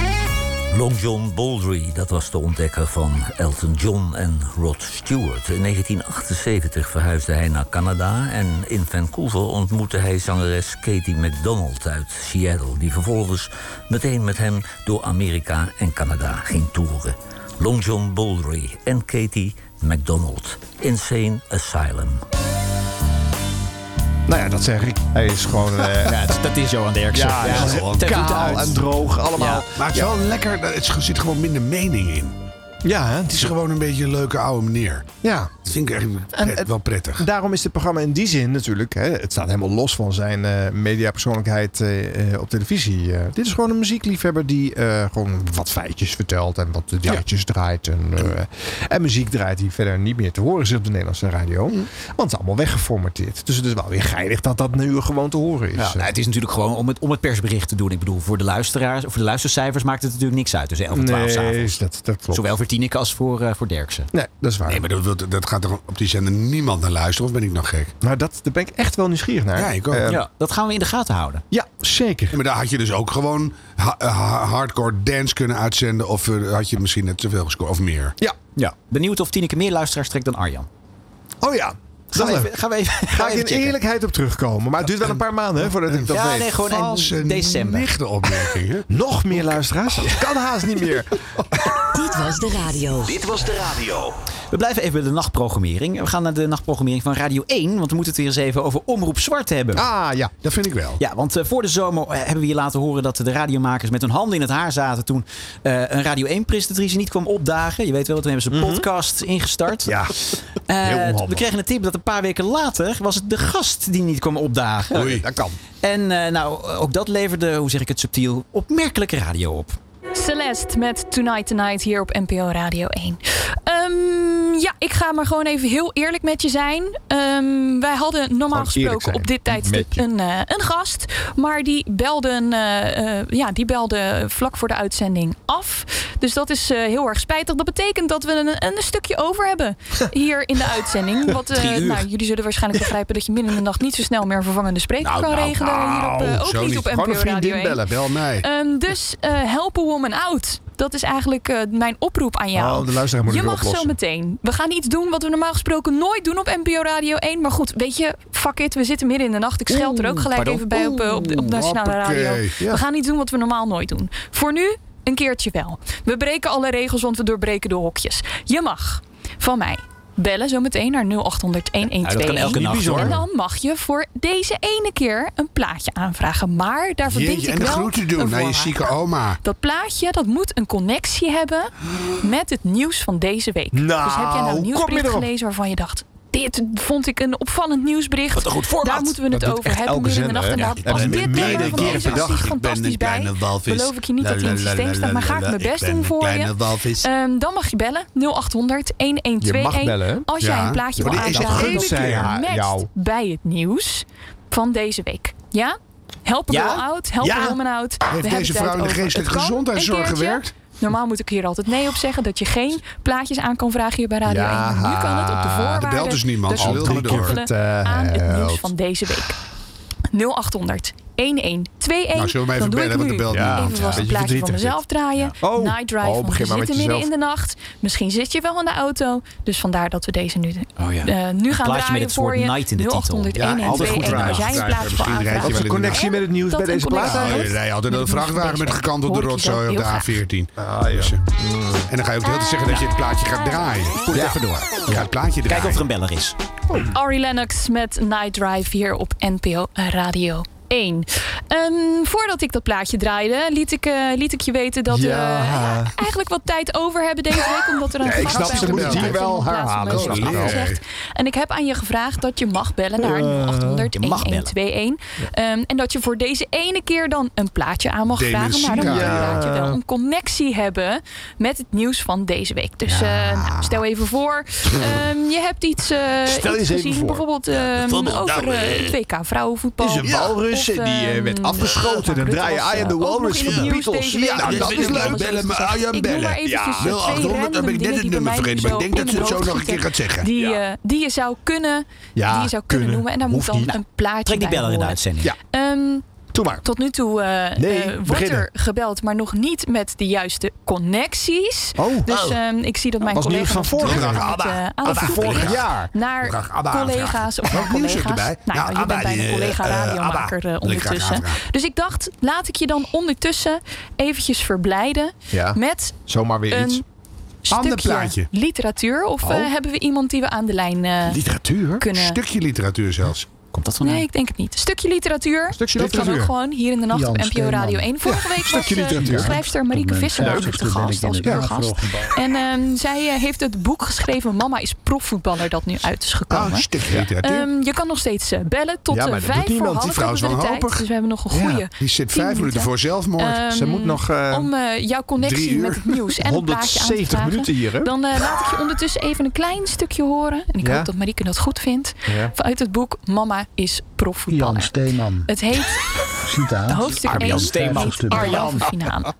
Speaker 13: Long John Baldry, dat was de ontdekker van Elton John en Rod Stewart. In 1978 verhuisde hij naar Canada en in Vancouver ontmoette hij zangeres Katie MacDonald uit Seattle, die vervolgens meteen met hem door Amerika en Canada ging toeren. Long John Baldry en Katie MacDonald, Insane Asylum.
Speaker 1: Nou ja, dat zeg ik. Hij is gewoon... eh,
Speaker 2: Ja, dat- dat is Johan Derksen.
Speaker 1: Ja,
Speaker 2: Ja,
Speaker 1: ja,
Speaker 2: gewoon kaal
Speaker 1: en droog, allemaal.
Speaker 3: Maar het is
Speaker 1: Ja.
Speaker 3: wel lekker, het zit gewoon minder mening in.
Speaker 1: Ja,
Speaker 3: Het is gewoon een beetje een leuke oude meneer.
Speaker 1: Ja.
Speaker 3: Dat vind ik echt pret-
Speaker 1: het-
Speaker 3: wel prettig.
Speaker 1: Daarom is dit programma in die zin natuurlijk... Hè, het staat helemaal los van zijn eh mediapersoonlijkheid eh, eh, op televisie. eh. dit is gewoon een muziekliefhebber die eh, gewoon wat feitjes vertelt... en wat dingetjes draait. En, eh, en muziek draait die verder niet meer te horen is op de Nederlandse radio.
Speaker 2: Mm.
Speaker 1: Want het is allemaal weggeformateerd. Dus het is wel weer geinig dat dat nu gewoon te horen is.
Speaker 2: Ja, nou, het is natuurlijk gewoon om het, om het persbericht te doen. Ik bedoel, voor de luisteraars, voor de luistercijfers maakt het natuurlijk niks uit. Dus 11 en 12
Speaker 1: Nee,
Speaker 2: s'avonds.
Speaker 1: Dat, dat klopt.
Speaker 2: Zowel voor Tineke als voor, eh, voor Derksen.
Speaker 1: Nee, dat is waar.
Speaker 3: Nee, maar dat, dat, dat gaat toch op die zender niemand naar luisteren? Of ben ik nog gek?
Speaker 1: Maar dat, daar ben ik echt wel nieuwsgierig naar.
Speaker 3: Ja, ik ook.
Speaker 1: Eh,
Speaker 2: dat gaan we in de gaten houden.
Speaker 1: Ja, zeker.
Speaker 3: maar daar had je dus ook gewoon ha- ha- hardcore dance kunnen uitzenden. Of eh, had je misschien net zoveel gescoord. Of meer.
Speaker 1: Ja.
Speaker 2: ja. Benieuwd of Tineke meer luisteraars trekt dan Arjan.
Speaker 1: Oh ja.
Speaker 2: Gaan we
Speaker 1: Dat
Speaker 2: even- gaan we even- gaan
Speaker 1: Ga
Speaker 2: we
Speaker 1: ik
Speaker 2: even
Speaker 1: in
Speaker 2: checken.
Speaker 1: eerlijkheid op terugkomen. Maar het duurt wel een paar maanden hè, voordat ik dat
Speaker 2: ja,
Speaker 1: weet.
Speaker 2: nee, gewoon in december.
Speaker 3: Lichte opmerkingen.
Speaker 1: Nog meer luisteraars? Oh, Dat kan haast niet meer.
Speaker 7: Dit was de radio.
Speaker 2: Dit was de radio. We blijven even bij de nachtprogrammering. We gaan naar de nachtprogrammering van Radio 1. Want we moeten het weer eens even over Omroep Zwart hebben.
Speaker 1: Ah ja,
Speaker 3: dat vind ik wel.
Speaker 2: Ja, want eh, voor de zomer eh, hebben we je laten horen dat de radiomakers met hun handen in het haar zaten. toen eh, een Radio 1-presentatrice niet kwam opdagen. Je weet wel, toen hebben ze een podcast ingestart.
Speaker 1: Mhm. Ja.
Speaker 2: Eh, we kregen een tip dat een paar weken later was het de gast die niet kwam opdagen.
Speaker 1: Oei, dat kan.
Speaker 2: En eh, nou, ook dat leverde, hoe zeg ik het subtiel, opmerkelijke radio op.
Speaker 14: Celeste met Tonight Tonight hier op NPO Radio 1. Ehm, ja, ik ga maar gewoon even heel eerlijk met je zijn. Ehm, wij hadden normaal
Speaker 15: Gewoon eerlijk
Speaker 14: gesproken
Speaker 15: zijn.
Speaker 14: op dit tijdstip
Speaker 15: Met je.
Speaker 14: een, eh, een gast. Maar die belde, een, eh, eh, ja, die belde vlak voor de uitzending af. Dus dat is eh, heel erg spijtig. Dat betekent dat we een, een stukje over hebben hier in de uitzending. Wat, eh,
Speaker 15: Drie uur.
Speaker 14: nou, jullie zullen waarschijnlijk begrijpen dat je midden in de nacht niet zo snel meer een vervangende spreker
Speaker 3: Nou,
Speaker 14: kan
Speaker 3: nou,
Speaker 14: regelen. hier op, eh,
Speaker 3: nou,
Speaker 14: ook
Speaker 3: zo
Speaker 14: niet,
Speaker 3: niet.
Speaker 14: op NPO
Speaker 3: Gewoon een vriendin
Speaker 14: Radio 1.
Speaker 3: bellen, bel mij.
Speaker 14: Ehm, dus eh help a woman out. Dat is eigenlijk eh, mijn oproep aan jou.
Speaker 1: Oh, de luisteraar moet
Speaker 14: je
Speaker 1: het weer
Speaker 14: mag zo
Speaker 1: oplossen.
Speaker 14: meteen. We gaan iets doen wat we normaal gesproken nooit doen op NPO Radio 1. Maar goed, weet je, fuck it. We zitten midden in de nacht. Ik scheld er ook gelijk
Speaker 15: pardon.
Speaker 14: even bij op, eh, op, de- op Nationale
Speaker 15: Hoppakee,
Speaker 14: Radio.
Speaker 15: ja.
Speaker 14: We gaan niet doen wat we normaal nooit doen. Voor nu, een keertje wel. We breken alle regels, want we doorbreken de hokjes. Je mag van mij bellen zometeen naar 0800
Speaker 2: Ja, dat kan elke Niet nacht, bizar. hoor.
Speaker 14: En dan mag je voor deze ene keer een plaatje aanvragen. Maar daar verbind
Speaker 3: Jeetje,
Speaker 14: ik
Speaker 3: en de
Speaker 14: wel
Speaker 3: groeten doen
Speaker 14: een
Speaker 3: naar je
Speaker 14: voorwaarde.
Speaker 3: zieke oma.
Speaker 14: Dat plaatje dat moet een connectie hebben met het nieuws van deze week.
Speaker 3: Nou,
Speaker 14: dus heb jij nou een
Speaker 3: kom je
Speaker 14: nieuwsbericht
Speaker 3: erop?
Speaker 14: gelezen waarvan je dacht... dit vond ik een opvallend nieuwsbericht.
Speaker 3: Wat een goed format.
Speaker 14: Daar moeten we het
Speaker 3: Dat doet
Speaker 14: over
Speaker 3: echt
Speaker 14: hebben
Speaker 3: elke
Speaker 14: midden in de nacht. En
Speaker 3: zender, hè?
Speaker 14: daar
Speaker 3: Ja,
Speaker 14: past
Speaker 3: en
Speaker 14: dit
Speaker 3: meerdere
Speaker 14: nummer van
Speaker 3: keren
Speaker 14: deze
Speaker 3: per dag.
Speaker 14: actie
Speaker 3: Ik ben een
Speaker 14: fantastisch bij.
Speaker 3: kleine walvis.
Speaker 14: Beloof ik je niet dat hij in het
Speaker 3: La, la, la,
Speaker 14: systeem staat, maar
Speaker 3: la,
Speaker 14: ga ik
Speaker 3: la,
Speaker 14: mijn
Speaker 3: la,
Speaker 14: best
Speaker 3: ik ben
Speaker 14: doen
Speaker 3: een
Speaker 14: voor je.
Speaker 3: kleine walvis.
Speaker 14: Ehm, dan mag je bellen
Speaker 3: Je
Speaker 14: 0800
Speaker 3: mag
Speaker 14: 1121.
Speaker 3: bellen, hè?
Speaker 14: Als jij
Speaker 3: Ja.
Speaker 14: een plaatje
Speaker 3: Maar
Speaker 14: wil
Speaker 3: die is dat
Speaker 14: aanvragen.
Speaker 3: gunt zij haar-
Speaker 14: matcht
Speaker 3: jou.
Speaker 14: bij het nieuws van deze week. Ja? Help a
Speaker 3: Ja?
Speaker 14: girl out, help
Speaker 3: Ja?
Speaker 14: a woman out.
Speaker 3: Heeft
Speaker 14: We
Speaker 3: deze
Speaker 14: hebben het
Speaker 3: vrouw
Speaker 14: uit
Speaker 3: in de
Speaker 14: over.
Speaker 3: geestelijke
Speaker 14: Het kan
Speaker 3: gezondheidszorg
Speaker 14: een keertje.
Speaker 3: gewerkt?
Speaker 14: Normaal moet ik hier altijd nee op zeggen dat je geen plaatjes aan kan vragen hier bij Radio
Speaker 3: Ja.
Speaker 14: 1. Nu kan het op de
Speaker 3: Er
Speaker 14: voorwaarden.
Speaker 3: belt dus niemand,
Speaker 14: dat
Speaker 3: ze
Speaker 14: je
Speaker 3: wil
Speaker 14: kan
Speaker 3: niet door.
Speaker 14: koppelen aan het nieuws
Speaker 3: Verteld.
Speaker 14: van deze week. 0800 1121.
Speaker 3: Nou, zullen we even
Speaker 14: dan doe
Speaker 3: bellen,
Speaker 14: ik
Speaker 3: want er
Speaker 14: nu
Speaker 3: belt niemand. Ja,
Speaker 14: Even vast
Speaker 3: beetje
Speaker 14: een plaatje
Speaker 3: verdriet
Speaker 14: van
Speaker 3: in zit.
Speaker 14: mezelf draaien.
Speaker 3: Ja. Oh.
Speaker 14: Night drive,
Speaker 3: Oh,
Speaker 14: want we
Speaker 3: begin maar met
Speaker 14: zitten midden in
Speaker 3: jezelf.
Speaker 14: de nacht. Misschien zit je wel in de auto. Dus vandaar dat we deze nu,
Speaker 2: Oh ja.
Speaker 14: eh, nu
Speaker 2: Een
Speaker 14: gaan
Speaker 2: plaatje
Speaker 14: draaien
Speaker 2: met het
Speaker 14: voor
Speaker 2: woord
Speaker 14: je.
Speaker 2: night in de titel.
Speaker 14: 0800
Speaker 2: Ja, altijd goed
Speaker 14: 1121. Als jij
Speaker 2: draaien.
Speaker 14: een plaats voor
Speaker 2: Misschien rijd je
Speaker 14: aanvraagt.
Speaker 2: wel in de nacht.
Speaker 1: Connectie met het nieuws
Speaker 14: Dat
Speaker 1: bij
Speaker 14: een
Speaker 1: deze
Speaker 14: connectie
Speaker 1: plaat
Speaker 3: Ja,
Speaker 1: heeft.
Speaker 3: je rijdt altijd een vrachtwagen met gekant op de
Speaker 1: Hoor ik
Speaker 3: rotzooi op de
Speaker 1: jezelf
Speaker 3: A14. Dus, eh, En dan ga je ook de hele tijd zeggen dat je het plaatje gaat draaien. Goed, even door. Ja, het plaatje draaien.
Speaker 2: Kijk of er een beller is.
Speaker 14: Ari Lennox met Night Drive hier op NPO Radio 1. Ehm, voordat ik dat plaatje draaide, liet ik, eh, liet ik je weten dat we
Speaker 1: Ja.
Speaker 14: ja, eigenlijk wat tijd over hebben deze week. Omdat er een
Speaker 1: Ja, ik
Speaker 14: gast
Speaker 1: snap,
Speaker 14: bij
Speaker 1: ze moet het
Speaker 14: ons
Speaker 1: hier
Speaker 14: is in
Speaker 1: wel
Speaker 14: plaats van
Speaker 1: herhalen,
Speaker 14: mensen
Speaker 1: snap ik wel.
Speaker 14: gezegd. En ik heb aan je gevraagd dat je mag bellen naar
Speaker 1: Eh,
Speaker 14: 0800
Speaker 1: je mag bellen.
Speaker 14: 1121. Ehm, en dat je voor deze ene keer dan een plaatje aan mag vragen. Maar
Speaker 1: Dementia.
Speaker 14: dan moet je inderdaad
Speaker 1: Ja.
Speaker 14: wel een connectie hebben met het nieuws van deze week. Dus eh, nou, stel even voor, ehm, je hebt iets, eh,
Speaker 1: Stel eens
Speaker 14: iets
Speaker 1: even
Speaker 14: gezien.
Speaker 1: voor.
Speaker 14: Bijvoorbeeld, ehm,
Speaker 1: bijvoorbeeld,
Speaker 14: over
Speaker 1: nou,
Speaker 14: eh,
Speaker 1: eh,
Speaker 14: het WK vrouwenvoetbal.
Speaker 1: is een
Speaker 14: Ja. eh,
Speaker 1: walrus
Speaker 14: Of,
Speaker 1: en die eh,
Speaker 14: ehm,
Speaker 1: werd afgeschoten. Dan draai je I am the Walrus van de Beatles. Ja, nou, dat is leuk.
Speaker 3: Bellen me, I am
Speaker 14: Ik noem maar
Speaker 3: bellen.
Speaker 14: eventjes
Speaker 3: Ja.
Speaker 14: twee
Speaker 3: 0800, dan ben ik
Speaker 14: random
Speaker 3: net
Speaker 14: dingen
Speaker 3: het
Speaker 14: die bij
Speaker 3: nummer
Speaker 14: mij
Speaker 3: vergeten. Maar ik denk dat
Speaker 14: zo
Speaker 3: ze het
Speaker 14: in
Speaker 3: zo
Speaker 14: het
Speaker 3: nog een
Speaker 14: hoofd
Speaker 3: keer gaat
Speaker 14: schieten.
Speaker 3: zeggen.
Speaker 14: Die, eh, die je zou kunnen,
Speaker 3: Ja,
Speaker 14: die je zou kunnen,
Speaker 3: kunnen.
Speaker 14: noemen. En daar moet
Speaker 3: Hoeft
Speaker 14: dan
Speaker 3: niet.
Speaker 14: een plaatje
Speaker 2: Trek die
Speaker 14: bij
Speaker 2: beller in de
Speaker 14: horen.
Speaker 2: uitzending. Ja.
Speaker 14: Ehm, Tot nu toe eh,
Speaker 2: Nee,
Speaker 14: eh, wordt
Speaker 2: beginnen.
Speaker 14: er gebeld, maar nog niet met de juiste connecties.
Speaker 1: Oh.
Speaker 14: Dus
Speaker 1: Oh.
Speaker 14: ehm, ik zie dat mijn
Speaker 1: was nieuws
Speaker 14: collega
Speaker 1: van
Speaker 14: nog
Speaker 1: vorig
Speaker 14: druk
Speaker 1: jaar.
Speaker 14: met,
Speaker 1: Abba.
Speaker 14: eh, aan
Speaker 1: Abba,
Speaker 14: het zoeken
Speaker 1: vorig
Speaker 14: is
Speaker 1: jaar.
Speaker 14: naar
Speaker 1: Ik wil graag Abba
Speaker 14: collega's
Speaker 1: aanvragen.
Speaker 14: of naar
Speaker 1: Welk nieuws zit
Speaker 14: collega's.
Speaker 1: erbij?
Speaker 14: Nou,
Speaker 1: Ja,
Speaker 14: je
Speaker 1: Abba,
Speaker 14: bent bijna
Speaker 1: die, eh,
Speaker 14: collega
Speaker 1: eh,
Speaker 14: radiomaker eh,
Speaker 1: Abba. Wil ik graag
Speaker 14: ondertussen.
Speaker 1: aanvragen.
Speaker 14: Dus ik dacht, laat ik je dan ondertussen eventjes verblijden
Speaker 1: Ja.
Speaker 14: met
Speaker 1: Zomaar weer
Speaker 14: een
Speaker 1: iets.
Speaker 14: stukje
Speaker 1: Ander plaatje.
Speaker 14: literatuur. Of eh,
Speaker 3: Oh.
Speaker 14: hebben we iemand die we aan de lijn eh,
Speaker 3: Literatuur?
Speaker 14: kunnen...
Speaker 3: Stukje literatuur zelfs.
Speaker 2: Komt dat
Speaker 14: Nee, ik denk het niet. Stukje literatuur.
Speaker 3: Stukje
Speaker 14: dat kan
Speaker 3: literatuur.
Speaker 14: ook gewoon hier in de nacht op
Speaker 3: Jan
Speaker 14: NPO
Speaker 3: Steeman.
Speaker 14: Radio 1. Vorige
Speaker 3: Ja,
Speaker 14: week was
Speaker 3: stukje
Speaker 14: eh,
Speaker 3: literatuur.
Speaker 14: schrijfster Marieke
Speaker 3: Op mijn
Speaker 14: Visser natuurlijk de
Speaker 3: 50ste ben
Speaker 14: gast
Speaker 3: ik
Speaker 14: als
Speaker 3: in het
Speaker 14: uurgast.
Speaker 3: Kagerhooggebouw.
Speaker 14: En ehm, zij eh, heeft het boek geschreven Mama is profvoetballer dat nu uit is gekomen.
Speaker 3: Ah, stukje literatuur.
Speaker 14: Ehm, je kan nog steeds eh, bellen tot
Speaker 3: Ja,
Speaker 14: eh,
Speaker 3: maar dat doet
Speaker 14: vijf voor
Speaker 3: niemand. Die
Speaker 14: half
Speaker 3: vrouw is
Speaker 14: hebben we de tijd.
Speaker 3: wanhopig.
Speaker 14: Dus we hebben nog een
Speaker 3: Ja,
Speaker 14: goede.
Speaker 3: die zit
Speaker 14: tien
Speaker 3: vijf minuten voor zelfmoord.
Speaker 14: Ehm,
Speaker 3: Ze moet nog, eh,
Speaker 14: om eh, jouw
Speaker 3: drie
Speaker 14: connectie
Speaker 3: uur.
Speaker 14: met het nieuws en het plaatje aan te
Speaker 3: 170
Speaker 14: vragen.
Speaker 3: minuten hier, hè?
Speaker 14: Dan eh, laat ik je ondertussen even een klein stukje horen. En ik
Speaker 9: Ja.
Speaker 14: hoop dat Marieke dat goed vindt.
Speaker 9: Ja.
Speaker 14: Vanuit het boek Mama is profvoetballer.
Speaker 9: Jan Steeman,
Speaker 14: Het heet
Speaker 9: citaat.
Speaker 14: hoofdstuk 1 Arjan van Finaal.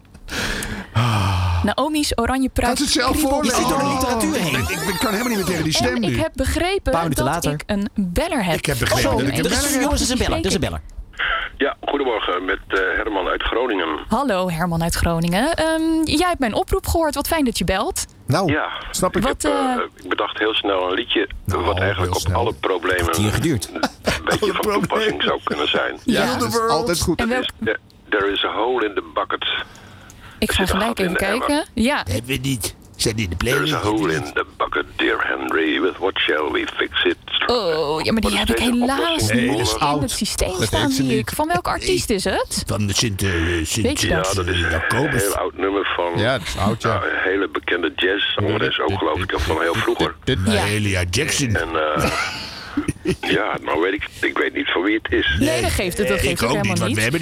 Speaker 14: Naomi's oranje pruik.
Speaker 3: Ah. Gaat ze het zelf
Speaker 14: kriebelt.
Speaker 3: voorlezen? Oh, Ik, ik kan helemaal niet meer tegen die stem
Speaker 14: En
Speaker 3: nu.
Speaker 14: ik heb begrepen
Speaker 3: Paar minuten
Speaker 14: dat
Speaker 3: later.
Speaker 14: ik een beller heb. Oh,
Speaker 3: Ik heb begrepen dat ik een beller heb.
Speaker 2: Jongens, dat is een beller. Dat is een beller.
Speaker 15: Ja, goedemorgen met eh, Herman uit Groningen.
Speaker 14: Hallo Herman uit Groningen. Ehm, jij hebt mijn oproep gehoord. Wat fijn dat je belt.
Speaker 1: Nou,
Speaker 15: ja.
Speaker 1: snap
Speaker 14: ik.
Speaker 15: Ik, heb, eh, ik bedacht heel snel een liedje wat eigenlijk op alle problemen een beetje van toepassing zou kunnen zijn.
Speaker 14: Ja, Ja, dat is world.
Speaker 1: altijd goed.
Speaker 15: Dat
Speaker 14: En
Speaker 15: is, eh, there is a hole in the bucket.
Speaker 14: Ik ga
Speaker 15: zit een
Speaker 14: gelijk
Speaker 15: gat in
Speaker 14: even
Speaker 15: de emmer.
Speaker 14: kijken. Ja.
Speaker 15: Hebben we niet. Zet in de There is a hole in the bucket, dear Henry. With what shall we fix it?
Speaker 14: Oh, ja, maar die heb ik helaas
Speaker 15: Nee,
Speaker 14: niet
Speaker 15: dat is
Speaker 14: in
Speaker 15: oud.
Speaker 14: het systeem
Speaker 15: Dat
Speaker 14: staan,
Speaker 15: heeft ze
Speaker 14: zie ik.
Speaker 15: niet.
Speaker 14: Van welke artiest is het?
Speaker 15: Van de Sint...
Speaker 14: Weet je
Speaker 15: ja,
Speaker 14: dat?
Speaker 15: dat is een heel oud nummer van ja, dat is oud, ja. een hele bekende jazzzangeres ook geloof ik, of van heel vroeger.
Speaker 3: Mahalia Jackson.
Speaker 15: En eh, ja, nou weet ik, ik weet niet van wie het is.
Speaker 14: Nee, dat geeft het. Dat geeft het helemaal Ehm, maar ik-
Speaker 15: en dan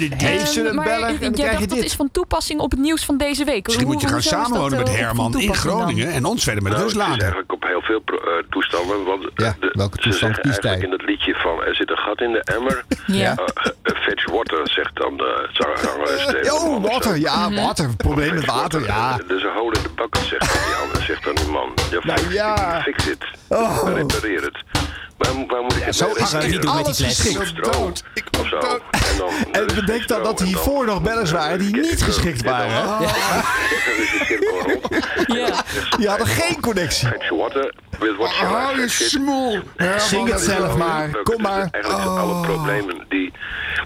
Speaker 14: jij
Speaker 15: krijg
Speaker 14: dacht,
Speaker 15: je
Speaker 14: dat
Speaker 15: dit.
Speaker 14: is van toepassing op het nieuws van deze week.
Speaker 3: Misschien moet je
Speaker 14: Hoe-
Speaker 3: gaan
Speaker 14: hoezo is dat,
Speaker 3: samenwonen met
Speaker 14: eh,
Speaker 3: Herman
Speaker 14: van
Speaker 3: in
Speaker 14: toepassing dan?
Speaker 3: Groningen en ons verder met
Speaker 15: Nou,
Speaker 3: rust
Speaker 15: het is
Speaker 3: laten.
Speaker 15: eigenlijk op heel veel pro- eh, toestanden. Want eh, de, ze
Speaker 1: toestand
Speaker 15: zeggen
Speaker 1: kiest
Speaker 15: eigenlijk in dat liedje van er zit een gat in de emmer.
Speaker 1: Ja.
Speaker 15: Eh, eh, fetch water, zegt dan de zangeres tegen
Speaker 1: Oh,
Speaker 15: hem.
Speaker 1: water. Ja, water. Probleem met water. Ja.
Speaker 15: Er is Eh, dus een hole in de bucket, zegt dan die ander. Zegt dan die man. Ja,
Speaker 1: Nou
Speaker 15: fix,
Speaker 1: ja.
Speaker 15: fix it.
Speaker 1: Oh.
Speaker 15: Repareer het. Waar, mo- waar moet ik het
Speaker 1: zo
Speaker 15: mee
Speaker 1: is het
Speaker 15: repareren?
Speaker 1: niet doen met die fles.
Speaker 15: Stroom,
Speaker 1: Ik ben dood.
Speaker 15: Of zo. En dan
Speaker 1: En bedenk dan dat hiervoor nog bellers waren die niet geschikt waren. hè?
Speaker 14: Ja.
Speaker 1: Die hadden geen connectie.
Speaker 15: fetch water. With what shall I
Speaker 1: Oh, je
Speaker 15: fix it?
Speaker 1: smoel. Zing het zelf maar. Kom maar. Oh.
Speaker 15: Eigenlijk zijn alle problemen die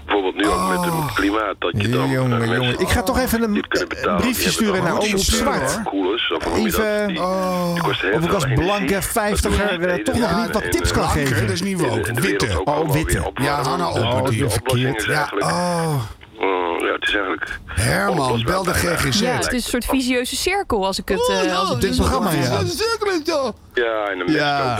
Speaker 15: bijvoorbeeld nu ook met het klimaat dat je dan
Speaker 1: Jongen,
Speaker 15: eh,
Speaker 1: jongen. Ik ga toch even een, een briefje sturen naar Omroep Zwart.
Speaker 15: Koelers, of hoe noem je dat?
Speaker 1: Even, oh. of ik als blanke vijftiger eh, toch nog niet wat tips kan geven.
Speaker 3: dat is niet woke. Witte.
Speaker 1: Oh, witte.
Speaker 3: Ja, Hanna op. Die
Speaker 15: oplossing is
Speaker 3: Ja,
Speaker 15: eigenlijk...
Speaker 3: oh.
Speaker 15: Mm, ja, het is eigenlijk...
Speaker 3: Herman, bel de GGZ.
Speaker 14: Ja, het is een soort visieuze cirkel als ik
Speaker 3: Oh,
Speaker 14: het... eh,
Speaker 3: nou,
Speaker 14: als ik het zo hoor.
Speaker 15: Ja, en de
Speaker 3: Ja,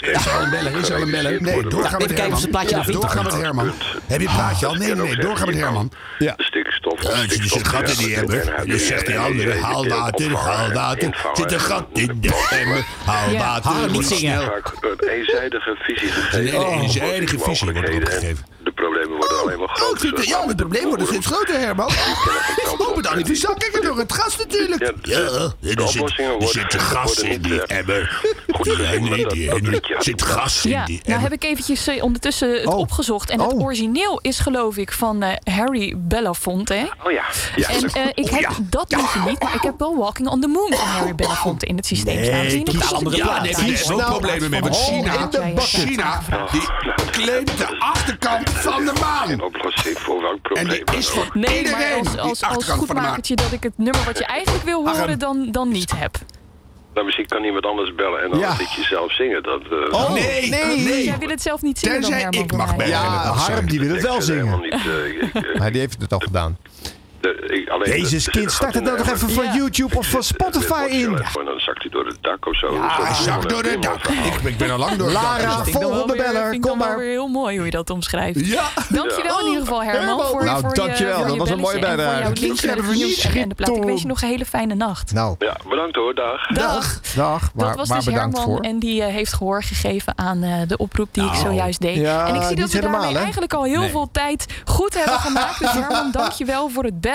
Speaker 3: is al een bellen, is al een bellen. Nee, doorgaan met Herman. Ja, doorgaan met Herman. Heb je het plaatje al? Nee, nee, doorgaan met Herman.
Speaker 1: Ja.
Speaker 15: De stikstof.
Speaker 3: Ja, er zit een gat in die emmer. En dan zegt die andere, haal water, haal water. Zit een gat in de emmer, haal water. wordt snel.
Speaker 15: Vaak Een eenzijdige visie gegeven.
Speaker 3: Een hele eenzijdige
Speaker 15: De
Speaker 3: visie wordt
Speaker 15: mogelijkheden en De problemen worden alleen maar
Speaker 3: Oh, ik
Speaker 15: groter.
Speaker 3: vind het- ja, de
Speaker 1: dus
Speaker 3: problemen worden steeds groter, Herman. Oh, bedankt. niet. Dus dan kijk er nog het gas natuurlijk.
Speaker 15: Ja, de-
Speaker 3: er
Speaker 15: de
Speaker 3: zit-
Speaker 15: oplossingen
Speaker 3: er
Speaker 15: worden-
Speaker 3: zit gas
Speaker 15: worden
Speaker 3: in
Speaker 15: niet,
Speaker 3: die
Speaker 15: eh,
Speaker 3: emmer.
Speaker 15: Goed,
Speaker 3: Nee, nee, die emmer. Zit gas in
Speaker 14: Ja,
Speaker 3: die Oh.
Speaker 14: nou
Speaker 3: emmer.
Speaker 14: heb ik eventjes eh, ondertussen het opgezocht. En het origineel is geloof ik van eh, Harry Belafonte. hè?
Speaker 15: Oh ja. ja
Speaker 14: en
Speaker 15: dat-
Speaker 14: eh, ik
Speaker 3: Oh,
Speaker 14: heb dat liedje niet, maar ik heb wel Walking on the Moon van Harry Belafonte in het systeem staan. Dus die
Speaker 3: kies-
Speaker 14: nog andere
Speaker 3: ja,
Speaker 14: plaat.
Speaker 3: nee, daar is wel problemen mee. Want
Speaker 14: Oh,
Speaker 3: China,
Speaker 14: en de bucket.
Speaker 3: China, die claimt de achterkant van de maan.
Speaker 15: oplossing voor welk
Speaker 3: En
Speaker 15: probleem.
Speaker 3: die is voor
Speaker 14: Nee, maar
Speaker 3: iedereen.
Speaker 14: als,
Speaker 3: die
Speaker 14: als, als
Speaker 3: achterkant van de maan.
Speaker 14: goedmakertje dat ik het nummer wat je eigenlijk wil horen dan, dan niet heb.
Speaker 15: Nou, misschien kan iemand anders bellen en dan
Speaker 1: Ja.
Speaker 15: het liedje zelf zingen. Dat, eh,
Speaker 14: Dus jij wil het zelf niet zien.
Speaker 1: Oh, Tenzij ik mag bellen. Ja, Harm die wil het wel zingen. Maar die heeft het al gedaan.
Speaker 15: eh, de- ik- alleen
Speaker 1: Jezus
Speaker 15: de-
Speaker 1: kind, start het nou toch even van YouTube of van Spotify in.
Speaker 15: Gewoon, dan zakt hij door het dak of zo.
Speaker 1: Ja,
Speaker 15: Zo-
Speaker 1: hij zakt
Speaker 15: zo-
Speaker 1: door het dak.
Speaker 15: Ik,
Speaker 1: ben al
Speaker 14: Nou,
Speaker 1: lang door het dak. Lara,
Speaker 14: Vind dus ik dan wel
Speaker 1: volgende
Speaker 14: weer-
Speaker 1: beller,
Speaker 14: vind ik
Speaker 1: kom
Speaker 14: dan wel
Speaker 1: maar.
Speaker 14: weer heel mooi hoe je dat omschrijft.
Speaker 1: Ja.
Speaker 14: Dankjewel
Speaker 1: Ja.
Speaker 14: in ieder geval, Herman.
Speaker 1: Herman.
Speaker 14: Voor,
Speaker 1: Nou,
Speaker 14: voor
Speaker 1: dankjewel.
Speaker 14: Je, voor
Speaker 1: Dat
Speaker 14: je
Speaker 1: was een mooie
Speaker 14: belletjes en
Speaker 1: bijdrage.
Speaker 14: Voor jouw
Speaker 1: Klinkt
Speaker 14: liedjes en
Speaker 1: hebben
Speaker 14: de
Speaker 1: we niet
Speaker 14: vernieuwingen en de plaat. Ik wens je
Speaker 1: toe.
Speaker 14: nog een hele fijne nacht.
Speaker 1: Nou.
Speaker 15: Ja, bedankt hoor, dag.
Speaker 14: Dag.
Speaker 1: Dag, maar,
Speaker 14: dat was
Speaker 1: maar
Speaker 14: dus
Speaker 1: bedankt
Speaker 14: Herman
Speaker 1: voor.
Speaker 14: en die eh, heeft gehoor gegeven aan eh, de oproep die ik
Speaker 1: Nou,
Speaker 14: zojuist deed.
Speaker 1: ja,
Speaker 14: en ik zie
Speaker 1: niet
Speaker 14: dat we
Speaker 1: helemaal,
Speaker 14: daarmee
Speaker 1: hè?
Speaker 14: eigenlijk al heel
Speaker 1: Nee.
Speaker 14: veel tijd goed hebben gemaakt. Dus Herman, dankjewel voor het bellen.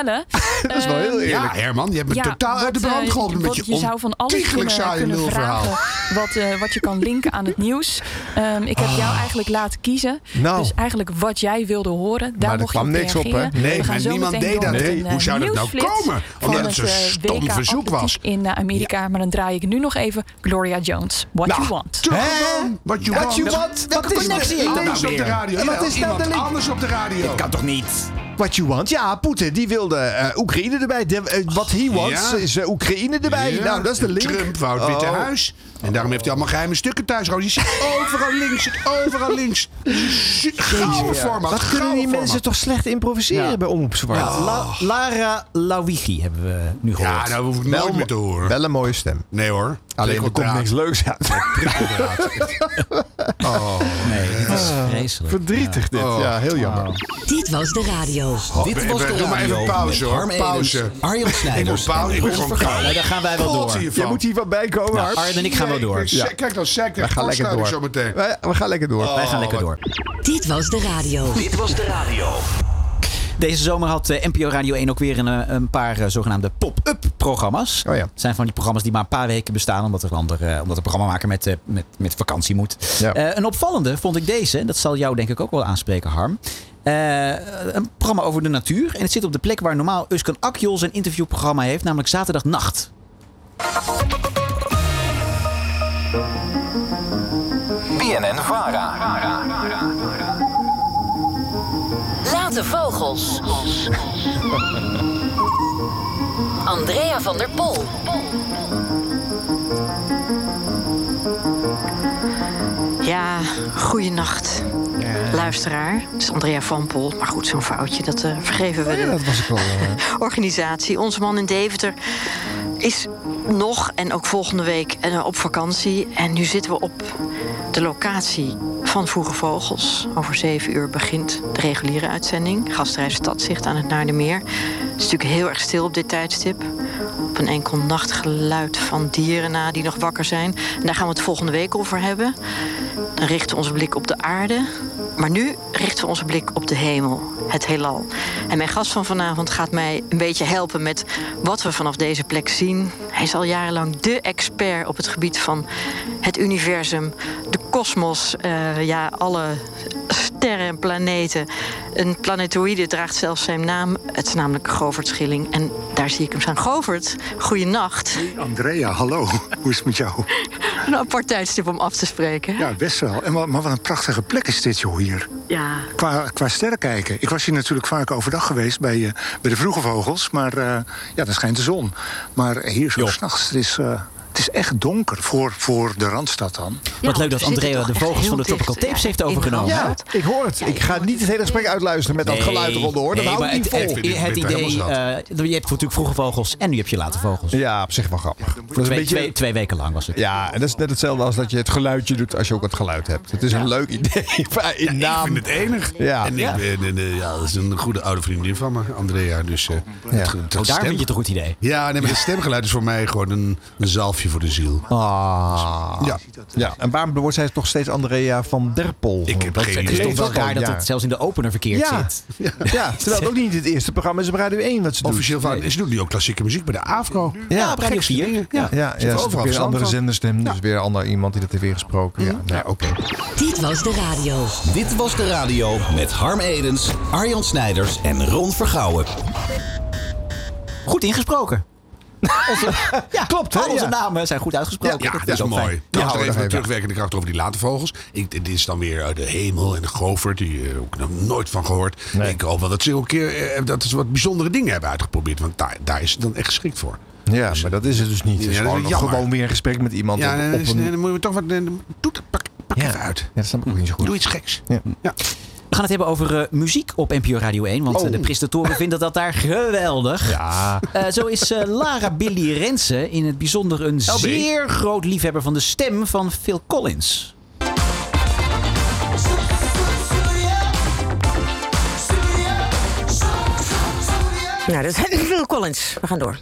Speaker 3: Dat is wel heel
Speaker 14: Ehm,
Speaker 3: eerlijk. Ja, Herman, je hebt me totaal uit de
Speaker 14: wat, eh,
Speaker 3: brand geholpen met
Speaker 14: wat
Speaker 3: je
Speaker 14: Je zou van alles
Speaker 3: ontiegelijk
Speaker 14: kunnen,
Speaker 3: saaie
Speaker 14: kunnen
Speaker 3: lulverhaal.
Speaker 14: vragen wat, eh, wat je kan linken aan het nieuws. Ehm, ik heb jou eigenlijk laten kiezen.
Speaker 3: Ah. Nou.
Speaker 14: Dus eigenlijk wat jij wilde horen, daar
Speaker 3: er
Speaker 14: mocht je
Speaker 3: kwam
Speaker 14: op
Speaker 3: niks op, hè?
Speaker 14: reageren. We
Speaker 3: Nee,
Speaker 14: gaan
Speaker 3: maar
Speaker 14: zo
Speaker 3: niemand
Speaker 14: meteen
Speaker 3: deed
Speaker 14: door
Speaker 3: dat,
Speaker 14: met
Speaker 3: hè?
Speaker 14: een,
Speaker 3: Hoe zou dat nou
Speaker 14: nieuwsflits
Speaker 3: komen?
Speaker 14: van
Speaker 3: Omdat het zo'n
Speaker 14: eh,
Speaker 3: stom
Speaker 14: WK
Speaker 3: verzoek
Speaker 14: atletiek
Speaker 3: was.
Speaker 14: In eh, Amerika, maar dan draai ik nu nog even Gloria Jones. What
Speaker 3: Nou,
Speaker 14: you want.
Speaker 3: toch gewoon, What you want.
Speaker 1: Wat is
Speaker 3: er
Speaker 1: nou
Speaker 3: anders op de
Speaker 1: weer?
Speaker 3: radio?
Speaker 1: Wat
Speaker 3: Jawel,
Speaker 1: is nou de
Speaker 3: iemand
Speaker 1: link?
Speaker 3: anders op de radio?
Speaker 1: Dit kan toch niet? What you want? Ja, Poetin die wilde eh, Oekraïne erbij. De, eh, what he wants
Speaker 3: Ja.
Speaker 1: is eh, Oekraïne erbij.
Speaker 3: Ja,
Speaker 1: Nou, dat is de
Speaker 3: en
Speaker 1: link.
Speaker 3: Trump wou het Witte
Speaker 1: Oh.
Speaker 3: Huis. En daarom heeft hij allemaal geheime stukken thuis. gehouden. Die zit overal links, zit overal links. Su- Gouden
Speaker 1: Ja.
Speaker 3: format.
Speaker 1: Wat kunnen die
Speaker 3: gouden
Speaker 1: mensen
Speaker 3: format.
Speaker 1: toch slecht improviseren bij Omroep Zwart?
Speaker 2: Ja, La- Lara Lawigi hebben we nu gehoord.
Speaker 3: Ja, daar hoef ik
Speaker 1: Wel
Speaker 3: nooit
Speaker 1: mo-
Speaker 3: meer te horen.
Speaker 1: Wel een mooie stem.
Speaker 3: Nee hoor.
Speaker 1: Alleen er komt
Speaker 3: Prikkeldraad.
Speaker 1: niks leuks uit.
Speaker 3: Oh,
Speaker 2: nee, dit is
Speaker 3: Ah.
Speaker 2: vreselijk.
Speaker 1: Verdrietig dit.
Speaker 2: Oh.
Speaker 1: Ja, heel jammer.
Speaker 7: Dit was de radio.
Speaker 2: Dit was de
Speaker 3: Doe maar even
Speaker 2: radio
Speaker 3: pauze
Speaker 2: met
Speaker 3: hoor.
Speaker 2: Harm
Speaker 3: Pauze.
Speaker 2: Edens, Arjan Snijders
Speaker 3: Ik moet pauze.
Speaker 2: en
Speaker 3: Ik moet
Speaker 2: Rolf
Speaker 3: gewoon
Speaker 2: Vergaal.
Speaker 3: koud.
Speaker 2: Nee, daar gaan wij wel door.
Speaker 1: Jij moet hier wat bij komen.
Speaker 2: Nou,
Speaker 1: Harp.
Speaker 2: Arjen en ik gaan wel door.
Speaker 3: Jezus,
Speaker 2: Ja.
Speaker 3: Kijk dan, zij
Speaker 1: Wij
Speaker 3: krijgt
Speaker 1: gaan lekker door.
Speaker 3: zo meteen.
Speaker 1: Wij, we gaan lekker door. Oh,
Speaker 2: Wij gaan lekker door.
Speaker 7: Dit was de radio.
Speaker 6: Dit was de radio.
Speaker 2: Deze zomer had eh, NPO Radio 1 ook weer een, eh, een paar eh, zogenaamde pop-up programma's.
Speaker 1: Oh ja.
Speaker 2: Het zijn van die programma's die maar een paar weken bestaan, omdat er ander, eh, omdat de programmamaker met, eh, met, met vakantie moet. Eh, een opvallende vond ik deze, en dat zal jou denk ik ook wel aanspreken, Harm. Eh, een programma over de natuur. En het zit op de plek waar normaal Uskan Akjol zijn interviewprogramma heeft, namelijk zaterdagnacht.
Speaker 6: BNN Vara.
Speaker 7: Late Vogels. Andrea van der Pol.
Speaker 16: Ja, goeienacht. Luisteraar, het is Andrea van Pol. Maar goed, zo'n foutje, dat eh, vergeven we. de
Speaker 1: Dat was ik wel. eh,
Speaker 16: organisatie. Onze man in Deventer is nog en ook volgende week eh, op vakantie. En nu zitten we op de locatie van Vroege Vogels. Over zeven uur begint de reguliere uitzending. Gastreis Stadzicht aan het Naardenmeer. Het is natuurlijk heel erg stil op dit tijdstip. Op een enkel nachtgeluid van dieren na die nog wakker zijn. En daar gaan we het volgende week over hebben. Dan richten we onze blik op de aarde. Maar nu richten we onze blik op de hemel, het heelal. En mijn gast van vanavond gaat mij een beetje helpen met wat we vanaf deze plek zien. Hij is al jarenlang dé expert op het gebied van het universum, de kosmos, eh, ja, alle sterren en planeten. Een planetoïde draagt zelfs zijn naam. Het is namelijk Govert Schilling. En daar zie ik hem staan. Govert, goeienacht.
Speaker 17: Andrea, hallo. Hoe is het met jou?
Speaker 16: Een apart tijdstip om af te spreken.
Speaker 17: Ja, best wel. En wat, maar wat een prachtige plek is dit, joh, hier.
Speaker 16: Ja,
Speaker 17: Qua, qua sterren kijken. Ik was hier natuurlijk vaak overdag geweest bij, eh, bij de vroege vogels. Maar eh, ja, dan schijnt de zon. Maar hier zo s'nachts, het, is, eh, het is echt donker voor, voor de Randstad dan.
Speaker 2: Wat leuk dat
Speaker 17: we zitten
Speaker 2: Andrea
Speaker 17: toch
Speaker 2: de
Speaker 17: echt
Speaker 2: vogels van de
Speaker 17: heel
Speaker 2: Tropical
Speaker 17: dicht.
Speaker 2: Tapes
Speaker 17: Ja,
Speaker 2: heeft overgenomen.
Speaker 1: Ja, ik hoor het. Ik ga niet het hele gesprek uitluisteren met dat
Speaker 2: Nee,
Speaker 1: geluid eronder hoor. Dat
Speaker 2: nee,
Speaker 1: hou ik
Speaker 2: maar
Speaker 1: niet vol.
Speaker 2: het, het, het idee, eh, je hebt natuurlijk vroege vogels en nu heb je late vogels.
Speaker 1: Ja, op zich wel grappig. Dat is een
Speaker 2: twee,
Speaker 1: beetje-
Speaker 2: twee, twee weken lang was het.
Speaker 1: Ja, en dat is net hetzelfde als dat je het geluidje doet als je ook het geluid hebt. Het is een leuk idee. maar In naam.
Speaker 3: Ik vind het enig.
Speaker 1: Ja.
Speaker 3: En ik,
Speaker 1: Ja.
Speaker 3: ben- en, eh, ja, dat is een goede oude vriendin van me, Andrea. Dus, eh,
Speaker 1: Ja.
Speaker 3: het,
Speaker 1: Oh, daar vind je het een
Speaker 2: goed idee.
Speaker 3: Ja, nee, maar het stemgeluid is voor mij gewoon een, een zalfje voor de ziel.
Speaker 1: Ah. Ja. ja. En waarom wordt zij toch steeds Andrea van Derpol? Ik heb
Speaker 2: Het is toch wel raar dat het zelfs in de opener verkeerd
Speaker 1: ja.
Speaker 2: zit.
Speaker 1: Ja. ja, terwijl het ook niet het eerste programma is op Radio 1 wat ze doen.
Speaker 3: Officieel van, ze doen nu ook klassieke muziek bij de AFRO.
Speaker 1: Ja, op Radio
Speaker 3: gekste
Speaker 1: 4.
Speaker 3: dingen.
Speaker 1: Ja, ja,
Speaker 3: Zitten
Speaker 1: ja,
Speaker 3: overal
Speaker 1: weer een
Speaker 3: verstand
Speaker 1: andere
Speaker 3: van.
Speaker 1: zenderstem. Dus weer een ander iemand die dat heeft weer gesproken. Ja, nou, oké.
Speaker 7: Dit was de radio.
Speaker 6: Dit was de radio met Harm Edens, Arjan Snijders en Ron Vergouwen.
Speaker 2: Goed ingesproken. Onze, ja, klopt. Al onze namen zijn goed uitgesproken.
Speaker 3: Ja, dat is
Speaker 2: ook
Speaker 3: mooi.
Speaker 2: fijn.
Speaker 3: Dan
Speaker 2: Ja,
Speaker 3: is er
Speaker 2: hoor,
Speaker 3: even
Speaker 2: dat
Speaker 3: een terugwerkende kracht over die late vogels. Ik, dit is dan weer eh, de hemel en de gover, die eh, ook nog nooit van gehoord. eh, Ik hoop wel dat ze ook een keer eh, dat ze wat bijzondere dingen hebben uitgeprobeerd. Want daar, daar is het dan echt geschikt voor.
Speaker 1: Ja, maar dat is het dus niet. Het is
Speaker 3: Ja, dat is
Speaker 1: gewoon,
Speaker 3: jammer.
Speaker 1: gewoon weer een gesprek met iemand
Speaker 3: Ja,
Speaker 1: op,
Speaker 3: nee,
Speaker 1: op
Speaker 3: dat is-
Speaker 1: een...
Speaker 3: nee, dan moet je toch wat. nee, dan- Doe het, pak, pak even uit.
Speaker 1: Ja, dat snap ik ook niet zo goed.
Speaker 3: Doe iets geks.
Speaker 2: We gaan het hebben over eh, muziek op NPO Radio 1. Want eh,
Speaker 1: Oh.
Speaker 2: de presentatoren vinden dat daar geweldig.
Speaker 1: Ja.
Speaker 2: Eh, zo is eh, Lara Billy Rensen in het bijzonder een zeer groot liefhebber van de stem van Phil Collins.
Speaker 18: Nou, dat is Phil Collins. We gaan door.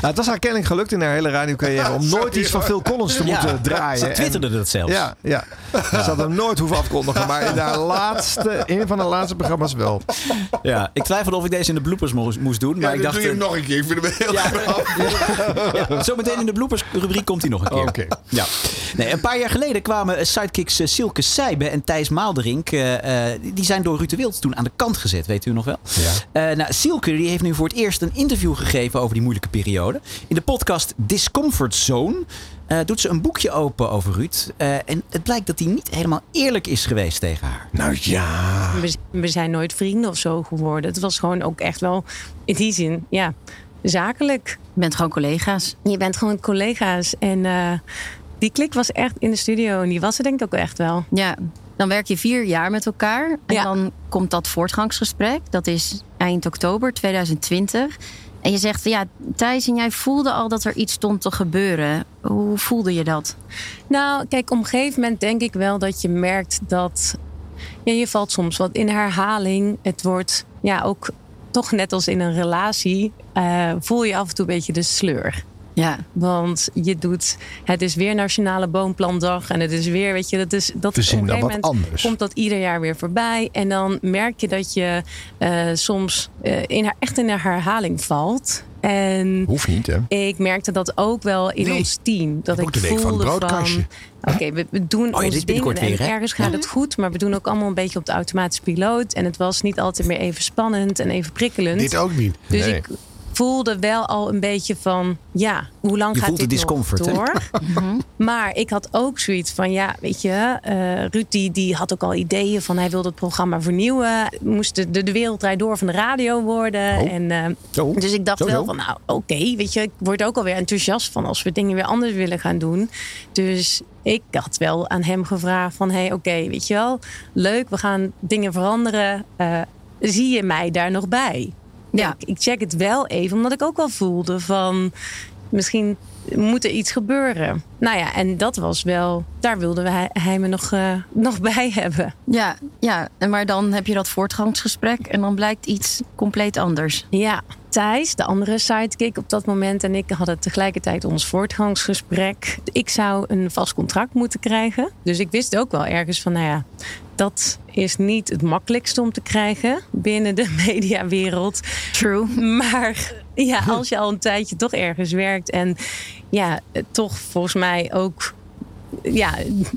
Speaker 1: Nou, het was haar kennelijk gelukt in haar hele radiocarrière om nooit iets van Phil Collins te
Speaker 2: Ja,
Speaker 1: moeten
Speaker 2: ze
Speaker 1: draaien.
Speaker 2: twitterde dat zelfs.
Speaker 1: Ja, ja. ze had hem nooit hoeven afkondigen, maar in haar laatste, in een van haar laatste programma's wel.
Speaker 2: Ja, ik twijfelde of ik deze in de bloopers moest, moest doen. Maar
Speaker 1: dan
Speaker 2: ik dacht,
Speaker 1: doe je hem
Speaker 2: eh,
Speaker 1: nog een keer.
Speaker 3: Ik vind hem heel
Speaker 2: Ja, Zometeen in de bloepersrubriek komt hij nog een keer.
Speaker 1: Oké.
Speaker 2: Ja. Nee, een paar jaar geleden kwamen eh, sidekicks eh, Silke Seibe en Thijs Maalderink. eh, eh, die zijn door Ruud de Wild toen aan de kant gezet, weet u nog wel. Eh, nou, Silke die heeft nu voor het eerst een interview gegeven over die moeilijke periode. In de podcast Discomfort Zone eh, doet ze een boekje open over Ruud. Eh, en het blijkt dat hij niet helemaal eerlijk is geweest tegen haar.
Speaker 1: Nou ja.
Speaker 19: We, we zijn nooit vrienden of zo geworden. Het was gewoon ook echt wel, in die zin, ja, zakelijk. Je bent gewoon collega's. Je bent gewoon collega's. En eh, die klik was echt in de studio. En die was er denk ik ook echt wel.
Speaker 20: Ja, dan werk je vier jaar met elkaar. En dan komt dat voortgangsgesprek. Dat is eind oktober 2020. En je zegt, ja, Thijs, en jij voelde al dat er iets stond te gebeuren. Hoe voelde je dat?
Speaker 19: Nou, kijk, op een gegeven moment denk ik wel dat je merkt dat. Ja, je valt soms wat in herhaling. Het wordt ja, ook toch net als in een relatie. eh, voel je af en toe een beetje de sleur.
Speaker 20: Ja.
Speaker 19: Want je doet. Het is weer Nationale Boomplandag. En het is weer, weet je, dat is. Dat
Speaker 21: We
Speaker 19: is
Speaker 21: zien
Speaker 19: op een
Speaker 21: dan
Speaker 19: gegeven
Speaker 21: wat
Speaker 19: moment
Speaker 21: anders.
Speaker 19: Komt dat ieder jaar weer voorbij. En dan merk je dat je eh, soms eh, in, haar- echt in een herhaling valt. En
Speaker 1: Hoeft niet, hè?
Speaker 19: ik merkte dat ook wel in
Speaker 1: Nee.
Speaker 19: ons team. Dat
Speaker 1: Ook
Speaker 19: ik
Speaker 1: de week van het
Speaker 19: voelde
Speaker 1: broodkastje.
Speaker 19: Oké, we, we doen
Speaker 21: dit is
Speaker 19: ons ding
Speaker 21: binnenkort
Speaker 19: en
Speaker 21: weer, hè?
Speaker 19: ergens gaat het goed. Maar we doen ook allemaal een beetje op de automatische piloot. En het was niet altijd meer even spannend en even prikkelend.
Speaker 3: Dit ook niet.
Speaker 19: Dus
Speaker 3: Nee.
Speaker 19: ik voelde wel al een beetje van... Ja, hoe lang
Speaker 3: Je
Speaker 19: gaat
Speaker 3: voelt de
Speaker 19: dit nog
Speaker 3: discomfort, hè?
Speaker 19: door? Maar ik had ook zoiets van, ja, weet je, eh Ruud die, die had ook al ideeën van hij wilde het programma vernieuwen. Moest de, de, de wereld draait door van de radio worden.
Speaker 20: Oh.
Speaker 19: En, eh,
Speaker 20: Zo.
Speaker 19: dus ik dacht
Speaker 20: Zo, zo.
Speaker 19: wel van, nou oké, weet je, ik word ook alweer enthousiast van als we dingen weer anders willen gaan doen. Dus ik had wel aan hem gevraagd van, hey, oké, weet je wel, leuk, we gaan dingen veranderen. Eh, zie je mij daar nog bij? Ja. Ik, ik check het wel even, omdat ik ook wel voelde van, misschien moet er iets gebeuren. Nou ja, en dat was wel, daar wilde hij, hij me nog, eh, nog bij hebben.
Speaker 20: Ja, ja, en maar dan heb je dat voortgangsgesprek en dan blijkt iets compleet anders.
Speaker 19: Ja, Thijs, de andere sidekick op dat moment, en ik hadden tegelijkertijd ons voortgangsgesprek. Ik zou een vast contract moeten krijgen. Dus ik wist ook wel ergens van, nou ja, dat is niet het makkelijkste om te krijgen binnen de mediawereld.
Speaker 20: True. Hm.
Speaker 19: Maar ja, als je al een tijdje toch ergens werkt en ja, eh, toch volgens mij ook ja,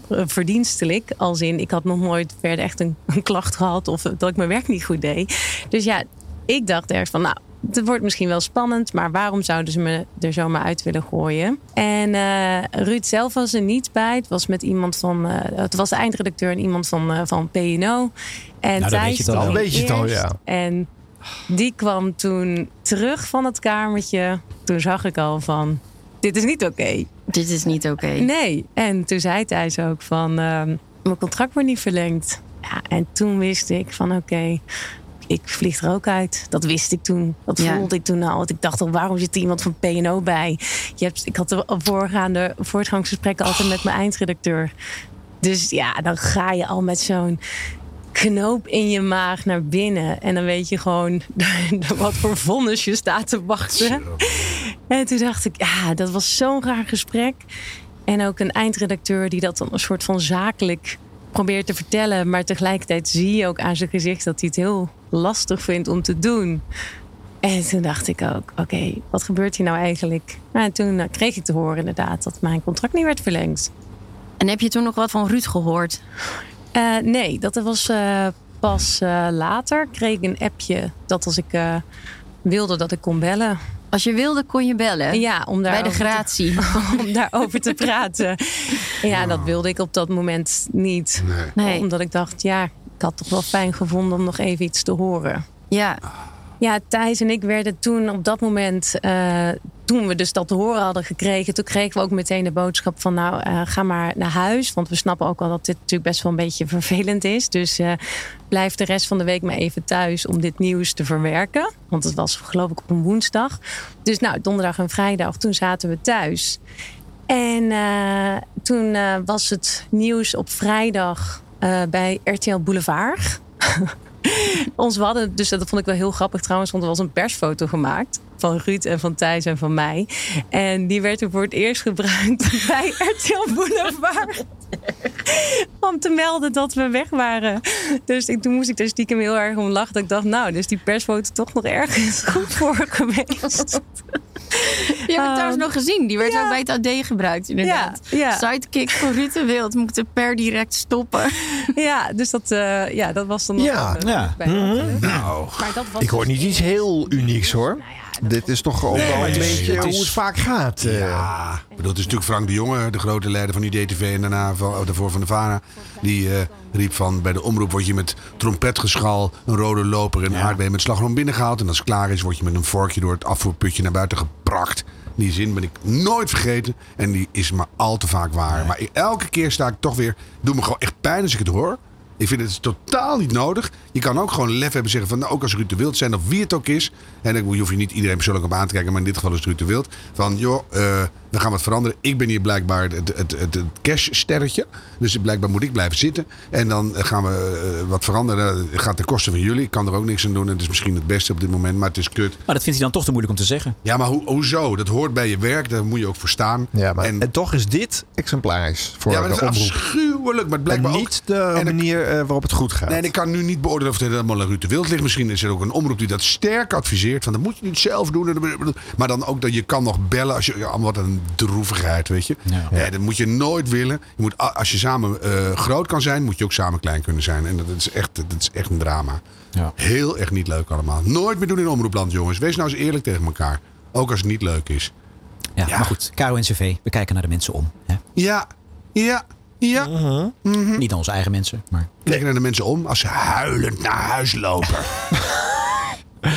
Speaker 19: eh, verdienstelijk. Als in, ik had nog nooit verder echt een, een klacht gehad of dat ik mijn werk niet goed deed. Dus ja, ik dacht ergens van, nou, het wordt misschien wel spannend, maar waarom zouden ze me er zomaar uit willen gooien? En eh, Ruud zelf was er niet bij. Het was met iemand van, eh, het was de eindredacteur en iemand van, eh, van PNO. En
Speaker 1: dan
Speaker 19: Thijs
Speaker 1: Nou, weet je het al.
Speaker 19: kwam
Speaker 1: Dan weet je het al,
Speaker 19: eerst.
Speaker 1: ja.
Speaker 19: En die kwam toen terug van het kamertje. Toen zag ik al van, dit is niet oké.
Speaker 20: Dit is niet oké.
Speaker 19: Nee, en toen zei Thijs ook van, ehm, mijn contract wordt niet verlengd. Ja, en toen wist ik van, oké, ik vlieg er ook uit. Dat wist ik toen. Dat
Speaker 20: Ja.
Speaker 19: voelde ik toen al. Want ik dacht al, waarom zit er iemand van PNO bij? Je hebt, ik had de voorgaande voortgangsgesprekken altijd met mijn eindredacteur. Dus ja, dan ga je al met zo'n knoop in je maag naar binnen. En dan weet je gewoon wat voor vonnis je staat te wachten. En toen dacht ik, ja, dat was zo'n raar gesprek. En ook een eindredacteur die dat dan een soort van zakelijk probeert te vertellen. Maar tegelijkertijd zie je ook aan zijn gezicht dat hij het heel lastig vindt om te doen. En toen dacht ik ook, oké, wat gebeurt hier nou eigenlijk? Nou, en toen eh, kreeg ik te horen inderdaad dat mijn contract niet werd verlengd.
Speaker 20: En heb je toen nog wat van Ruud gehoord?
Speaker 19: Eh, nee, dat was eh, pas eh, later. Kreeg ik een appje dat als ik eh, wilde dat ik kon bellen.
Speaker 20: Als je wilde kon je bellen?
Speaker 19: Ja, om daar
Speaker 20: Bij de
Speaker 19: over te-
Speaker 20: gratie.
Speaker 19: om daarover te praten. Ja, dat wilde ik op dat moment niet. Omdat ik dacht, ja, ik had toch wel fijn gevonden om nog even iets te horen.
Speaker 20: Ja.
Speaker 19: Ja, Thijs en ik werden toen op dat moment, eh, toen we dus dat te horen hadden gekregen, toen kregen we ook meteen de boodschap van nou, eh, ga maar naar huis. Want we snappen ook wel dat dit natuurlijk best wel een beetje vervelend is. Dus eh, blijf de rest van de week maar even thuis om dit nieuws te verwerken. Want het was geloof ik op een woensdag. Dus nou, donderdag en vrijdag, toen zaten we thuis. En eh, toen eh, was het nieuws op vrijdag eh, bij RTL Boulevard. Ons hadden, dus dat vond ik wel heel grappig trouwens, want er was een persfoto gemaakt van Ruud en van Thijs en van mij. En die werd toen voor het eerst gebruikt bij RTL Boulevard. om te melden dat we weg waren. Dus ik, toen moest ik daar stiekem heel erg om lachen. Dat ik dacht, nou, dus die persfoto toch nog ergens goed voor geweest.
Speaker 20: Je hebt het trouwens nog gezien. Die werd ook bij het AD gebruikt, inderdaad.
Speaker 19: Ah, Ja, ja.
Speaker 20: Sidekick voor Ruud de Wild. Moeten per direct stoppen.
Speaker 19: Ja, dus dat, eh, ja, dat was dan nog
Speaker 1: Ja,
Speaker 19: een, eh,
Speaker 1: ja.
Speaker 19: bij-
Speaker 2: Mhm.
Speaker 1: nou.
Speaker 19: Maar dat was dus
Speaker 1: Ik hoor niet iets heel unieks hoor.
Speaker 19: Nou
Speaker 1: Dit is toch ook wel een beetje hoe het vaak gaat. eh.
Speaker 3: Ja, ik bedoel, het is natuurlijk Frank de Jonge, de grote leider van IDTV en daarna van, oh, daarvoor van de VARA. Die eh, riep van, bij de omroep word je met trompetgeschal, een rode loper en een aardbei met slagroom binnengehaald. En als het klaar is, word je met een vorkje door het afvoerputje naar buiten gebracht. Die zin ben ik nooit vergeten en die is maar al te vaak waar. Maar elke keer sta ik toch weer, doe me gewoon echt pijn als ik het hoor. Ik vind het totaal niet nodig. Je kan ook gewoon lef hebben zeggen van, nou, ook als Ruud de Wild zijn of wie het ook is. En ik je hoef je niet iedereen persoonlijk op aan te kijken, maar in dit geval is het Ruud de Wild. Van, joh, eh, we gaan wat veranderen. Ik ben hier blijkbaar het, het, het, het cashsterretje. Dus blijkbaar moet ik blijven zitten. En dan gaan we eh, wat veranderen. Het gaat ten koste van jullie. Ik kan er ook niks aan doen. Het is misschien het beste op dit moment, maar het is kut.
Speaker 2: Maar dat vindt hij dan toch te moeilijk om te zeggen.
Speaker 3: Ja, maar ho- hoezo? Dat hoort bij je werk. Daar moet je ook voor staan.
Speaker 1: Ja, maar, en, toch is dit exemplarisch voor
Speaker 3: ja, maar
Speaker 1: de
Speaker 3: dat is
Speaker 1: omroep.
Speaker 3: afschuwelijk. Maar blijkbaar
Speaker 1: en
Speaker 3: ook-
Speaker 1: niet de manier eh, waarop het goed gaat.
Speaker 3: Nee, en ik kan nu niet beoordelen of het helemaal aan Ruud de Wild ligt. Misschien is er ook een omroep die dat sterk adviseert. Van, dat moet je niet zelf doen. Maar dan ook dat je kan nog bellen. Als je, ja, wat een droevigheid, weet je. Ja, dat moet je nooit willen. Je moet, a- als je samen eh, groot kan zijn, moet je ook samen klein kunnen zijn. En dat is echt, dat is echt een drama. Heel erg niet leuk allemaal. Nooit meer doen in omroepland, jongens. Wees nou eens eerlijk tegen elkaar. Ook als het niet leuk is.
Speaker 2: Ja, maar goed. Caro en CV. We kijken naar de mensen om. Hè?
Speaker 3: Ja, ja, ja.
Speaker 2: Niet naar onze eigen mensen. Maar...
Speaker 3: Kijken naar de mensen om als ze huilend naar huis lopen.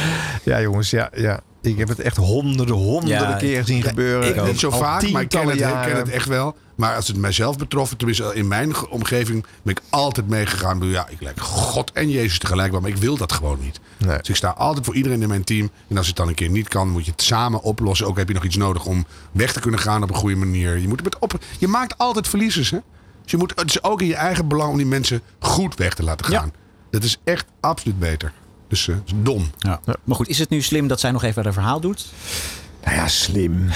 Speaker 1: Ja, jongens, ja, ja. Ik heb het echt honderden, honderden
Speaker 3: Ja,
Speaker 1: keer zien
Speaker 3: ja,
Speaker 1: gebeuren.
Speaker 3: Ik niet zo
Speaker 1: Al
Speaker 3: vaak, maar ik ken het,
Speaker 1: tientallen
Speaker 3: ik ken het
Speaker 1: jaren.
Speaker 3: echt wel. Maar als het mijzelf betrof, tenminste in mijn ge- omgeving, ben ik altijd meegegaan. Ik bedoel, Ja, ik lijk God en Jezus tegelijk wel, maar ik wil dat gewoon niet. Dus ik sta altijd voor iedereen in mijn team. En als het dan een keer niet kan, moet je het samen oplossen. Ook heb je nog iets nodig om weg te kunnen gaan op een goede manier. Je, moet het met op, je maakt altijd verliezers, hè? Dus je moet, het is ook in je eigen belang om die mensen goed weg te laten gaan. Dat is echt absoluut beter. Dus eh, het is dom.
Speaker 2: Ja. Maar goed, is het nu slim dat zij nog even haar verhaal doet?
Speaker 1: Nou ja, slim.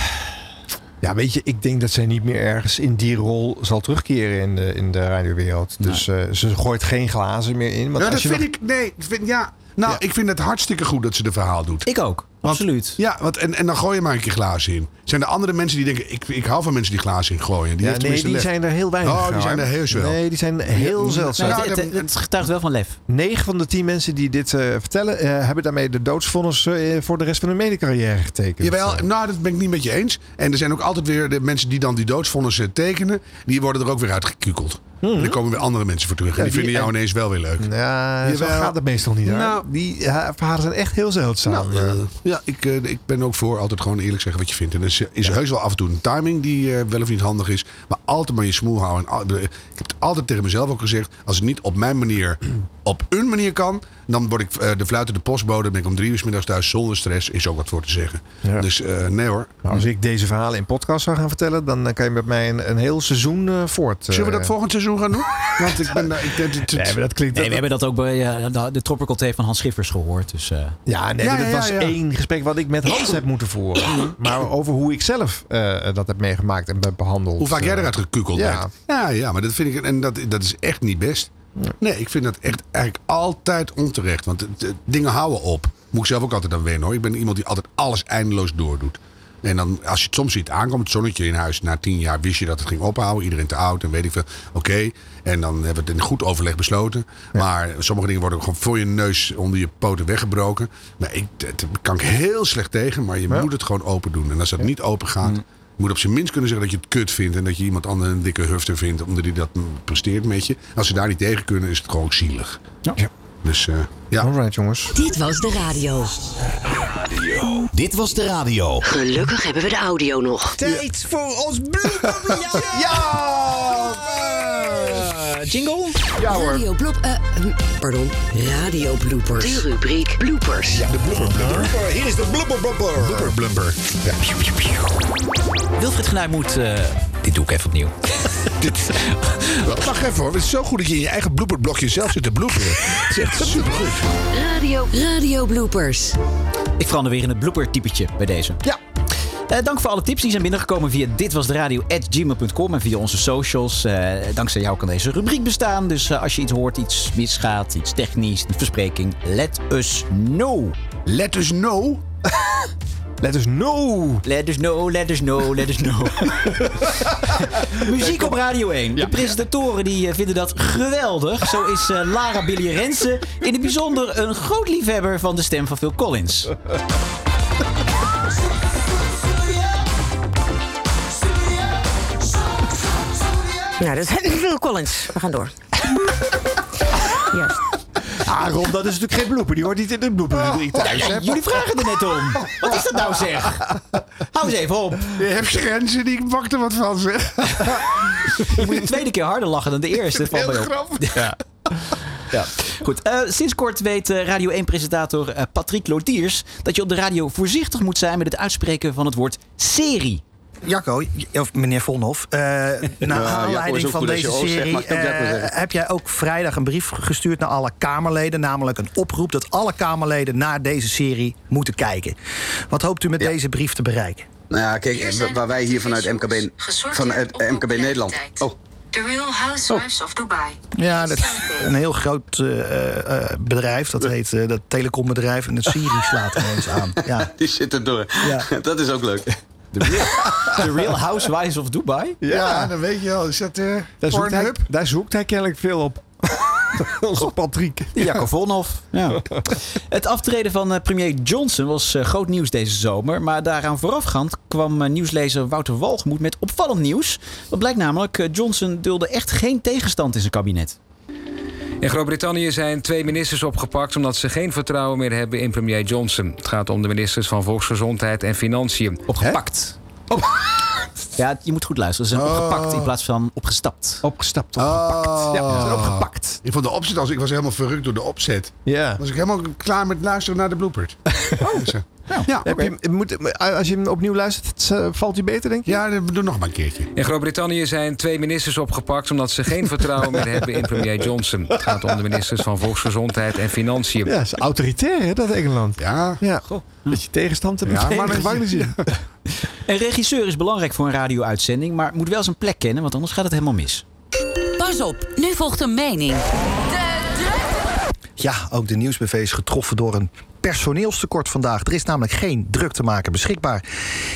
Speaker 1: Ja, weet je, ik denk dat zij niet meer ergens in die rol zal terugkeren in de, in de radiowereld.
Speaker 2: Nou.
Speaker 1: Dus eh, ze gooit geen glazen meer in. Want
Speaker 3: Ja, dat
Speaker 1: als je
Speaker 3: vind
Speaker 1: nog-
Speaker 3: ik. Nee, ik vind, ja. Nou, ik vind het hartstikke goed dat ze de verhaal doet.
Speaker 2: Ik ook. absoluut.
Speaker 3: Ja, want, en, en dan gooi je maar een keer glazen in. Zijn er andere mensen die denken, ik, ik hou van mensen die glazen in gooien. Die
Speaker 1: Ja,
Speaker 3: heeft
Speaker 1: nee,
Speaker 3: tenminste
Speaker 1: die
Speaker 3: lef.
Speaker 1: zijn er heel weinig
Speaker 3: Oh, die
Speaker 1: van.
Speaker 3: zijn er heel wel.
Speaker 1: Nee, die zijn heel
Speaker 3: Ja,
Speaker 1: zeldzaam.
Speaker 3: nou,
Speaker 1: Het-
Speaker 3: dan-
Speaker 1: het-
Speaker 2: Het getuigt wel van lef.
Speaker 1: 9 van de 10 mensen die dit eh, vertellen, eh, hebben daarmee de doodsvonnis eh, voor de rest van hun medecarrière getekend.
Speaker 3: Jawel, nou, dat ben ik niet met je eens. En er zijn ook altijd weer de mensen die dan die doodsvonnissen tekenen. Die worden er ook weer uitgekukeld. En dan komen weer andere mensen voor terug.
Speaker 1: Hmm. Ja,
Speaker 3: en die,
Speaker 1: die-
Speaker 3: vinden jou
Speaker 1: en-
Speaker 3: ineens wel weer leuk.
Speaker 1: Ja, zo
Speaker 3: Jawel.
Speaker 1: gaat het meestal niet. hoor.
Speaker 3: Nou.
Speaker 1: die eh, verhalen zijn echt heel zeldzaam.
Speaker 3: Nou, eh, ja, ik, eh, ik ben ook voor altijd gewoon eerlijk zeggen wat je vindt. En er is, is heus wel af en toe een timing die eh, wel of niet handig is. Maar altijd maar je smoel houden. En al- eh, ik heb het altijd tegen mezelf ook gezegd. Als het niet op mijn manier, op een manier kan. Dan word ik eh, de fluitende postbode. ben ik om drie uur 's middags thuis zonder stress. Is ook wat voor te zeggen. Dus eh, nee hoor.
Speaker 1: Maar Nou, als ik deze verhalen in podcast zou gaan vertellen, dan eh, kan je met mij een, een heel seizoen eh, voort. eh.
Speaker 3: Zullen we dat volgend seizoen gaan doen? Want ik ben daar... Ik, denk dat-
Speaker 1: Nee, maar dat klinkt...
Speaker 2: Nee, we hebben dat ook bij eh, de- de Tropical Tape van Hans Schiffers gehoord. Dus, eh,
Speaker 1: Ja, nee,
Speaker 2: Ja,
Speaker 1: maar dat
Speaker 2: ja,
Speaker 1: was
Speaker 2: ja.
Speaker 1: één gesprek wat ik met Hans heb moeten voeren. Maar over hoe ik zelf eh, dat heb meegemaakt en ben behandeld.
Speaker 3: Hoe vaak jij
Speaker 1: eh,
Speaker 3: eruit gekukeld
Speaker 1: ja.
Speaker 3: bent. Ja, ja, maar dat vind ik. En dat, dat is echt niet best. Nee, ik vind dat echt eigenlijk altijd onterecht. Want het- het- dingen houden op. Moet ik zelf ook altijd aan wennen hoor. Ik ben iemand die altijd alles eindeloos doordoet. En dan, als je het soms ziet aankomt, het zonnetje in huis. Na tien jaar wist je dat het ging ophouden. Iedereen te oud en weet ik veel. Oké. En dan hebben we het in goed overleg besloten. Maar sommige dingen worden gewoon voor je neus onder je poten weggebroken. Maar ik, dat kan ik heel slecht tegen. Maar je moet het gewoon open doen. En als dat niet open gaat, je moet op zijn minst kunnen zeggen dat je het kut vindt. En dat je iemand anders een dikke hufter vindt. Omdat hij dat presteert met je. Als ze daar niet tegen kunnen, is het gewoon zielig.
Speaker 2: Ja.
Speaker 3: Dus eh, ja.
Speaker 1: Alright jongens.
Speaker 7: Dit was de radio.
Speaker 6: Dit was de radio.
Speaker 7: Gelukkig hebben we de audio nog.
Speaker 1: Tijd voor ons blooperblokje.
Speaker 2: jingle?
Speaker 1: Ja hoor.
Speaker 7: Radio blop, eh, hm, pardon. Radio bloopers. De rubriek bloopers. Ja, de
Speaker 5: Hier is de blubber blubber.
Speaker 3: Blubber blubber. Ja.
Speaker 2: Wilfried Genuij moet... eh, dit doe ik even opnieuw.
Speaker 3: Dit, wacht even hoor. Het is zo goed dat je in je eigen blooperblokje zelf zit te bloeperen. Het is echt supergoed.
Speaker 7: Radio, radio bloopers.
Speaker 2: Ik verander weer in het blooper-typetje bij deze. Eh,
Speaker 1: Ja.
Speaker 2: dank voor alle tips die zijn binnengekomen via ditwasderadio.gmail.com en via onze socials. Eh, dankzij jou kan deze rubriek bestaan. Dus eh, als je iets hoort, iets misgaat, iets technisch, een verspreking, let us know.
Speaker 3: Let us know?
Speaker 1: let us know.
Speaker 2: Let us know, let us know, let us know. Muziek op Radio 1. De presentatoren die eh, vinden dat geweldig. Zo is eh, Lara Billy-Rensen in het bijzonder een groot liefhebber van de stem van Phil Collins.
Speaker 18: Nou, dat is Phil Collins. We gaan door. Juist.
Speaker 1: Ah, Ron, dat is natuurlijk geen blooper. Die hoort niet in de
Speaker 22: Oh.
Speaker 1: blooper thuis.
Speaker 2: Ja, jullie vragen er net om. Wat is dat nou zeg? Hou eens even op.
Speaker 3: Je hebt grenzen, die pak er wat van zeg.
Speaker 2: Je moet de tweede keer harder lachen dan de eerste. Van
Speaker 3: Heel
Speaker 2: mij op.
Speaker 3: grappig.
Speaker 2: Ja. Ja. Goed. eh, sinds kort weet eh, Radio 1-presentator eh, Patrick Lodiers dat je op de radio voorzichtig moet zijn met het uitspreken van het woord serie.
Speaker 21: Jacco, of meneer Vonhof, eh naar aanleiding van deze serie eh, heb jij ook vrijdag een brief gestuurd naar alle Kamerleden. Namelijk een oproep dat alle Kamerleden naar deze serie moeten kijken. Wat hoopt u met deze brief te bereiken?
Speaker 5: Nou ja, kijk, wa- waar wij hier vanuit MKB, vanuit MKB Nederland... Oh,
Speaker 23: The Real Housewives of Dubai.
Speaker 21: Ja, dat is een heel groot eh, eh, bedrijf. Dat heet eh, dat telecombedrijf. En de serie slaat ineens aan. Ja.
Speaker 5: die zit er door. Dat is ook leuk.
Speaker 2: The Real Housewives of Dubai?
Speaker 3: Ja, dan weet je al. Is dat eh
Speaker 1: Daar zoekt, hij,
Speaker 3: Pornhub?
Speaker 1: daar zoekt hij kennelijk veel op. Onze Patrick.
Speaker 2: Jacco Vonhoff. Ja. Het aftreden van eh, premier Johnson was eh, groot nieuws deze zomer. Maar daaraan voorafgaand kwam eh, nieuwslezer Wouter Walgemoed met opvallend nieuws. Dat blijkt namelijk, eh, Johnson dulde echt geen tegenstand in zijn kabinet.
Speaker 22: In Groot-Brittannië zijn twee ministers opgepakt omdat ze geen vertrouwen meer hebben in premier Johnson. Het gaat om de ministers van Volksgezondheid en Financiën.
Speaker 2: Opgepakt. Ja, je moet goed luisteren. Ze zijn opgepakt in plaats van opgestapt.
Speaker 1: Opgestapt,
Speaker 3: Oh.
Speaker 2: Ja, ze zijn opgepakt.
Speaker 3: Ik vond de opzet als ik was helemaal verrukt door de opzet.
Speaker 1: Ja. Oh.
Speaker 3: Was ik helemaal klaar met luisteren naar de bloopers. Dus, eh,
Speaker 1: Ja, heb je hem- moet, als je hem opnieuw luistert, het, eh, valt hij beter, denk je?
Speaker 3: Ja, doe nog maar een keertje.
Speaker 22: In Groot-Brittannië zijn twee ministers opgepakt omdat ze geen vertrouwen meer hebben in premier Johnson. Het gaat om de ministers van Volksgezondheid en Financiën.
Speaker 1: Ja, dat is autoritair, hè, dat Engeland.
Speaker 3: Ja.
Speaker 1: ja. Dat je tegenstand hebt.
Speaker 22: Ja, maar
Speaker 1: meteen.
Speaker 22: dat is-
Speaker 2: Een regisseur is belangrijk voor een radio-uitzending, maar moet wel zijn plek kennen, want anders gaat het helemaal mis.
Speaker 7: Pas op, nu volgt een mening.
Speaker 21: Ja, ook de nieuwsbv is getroffen door een personeelstekort vandaag. Er is namelijk geen druk te maken beschikbaar.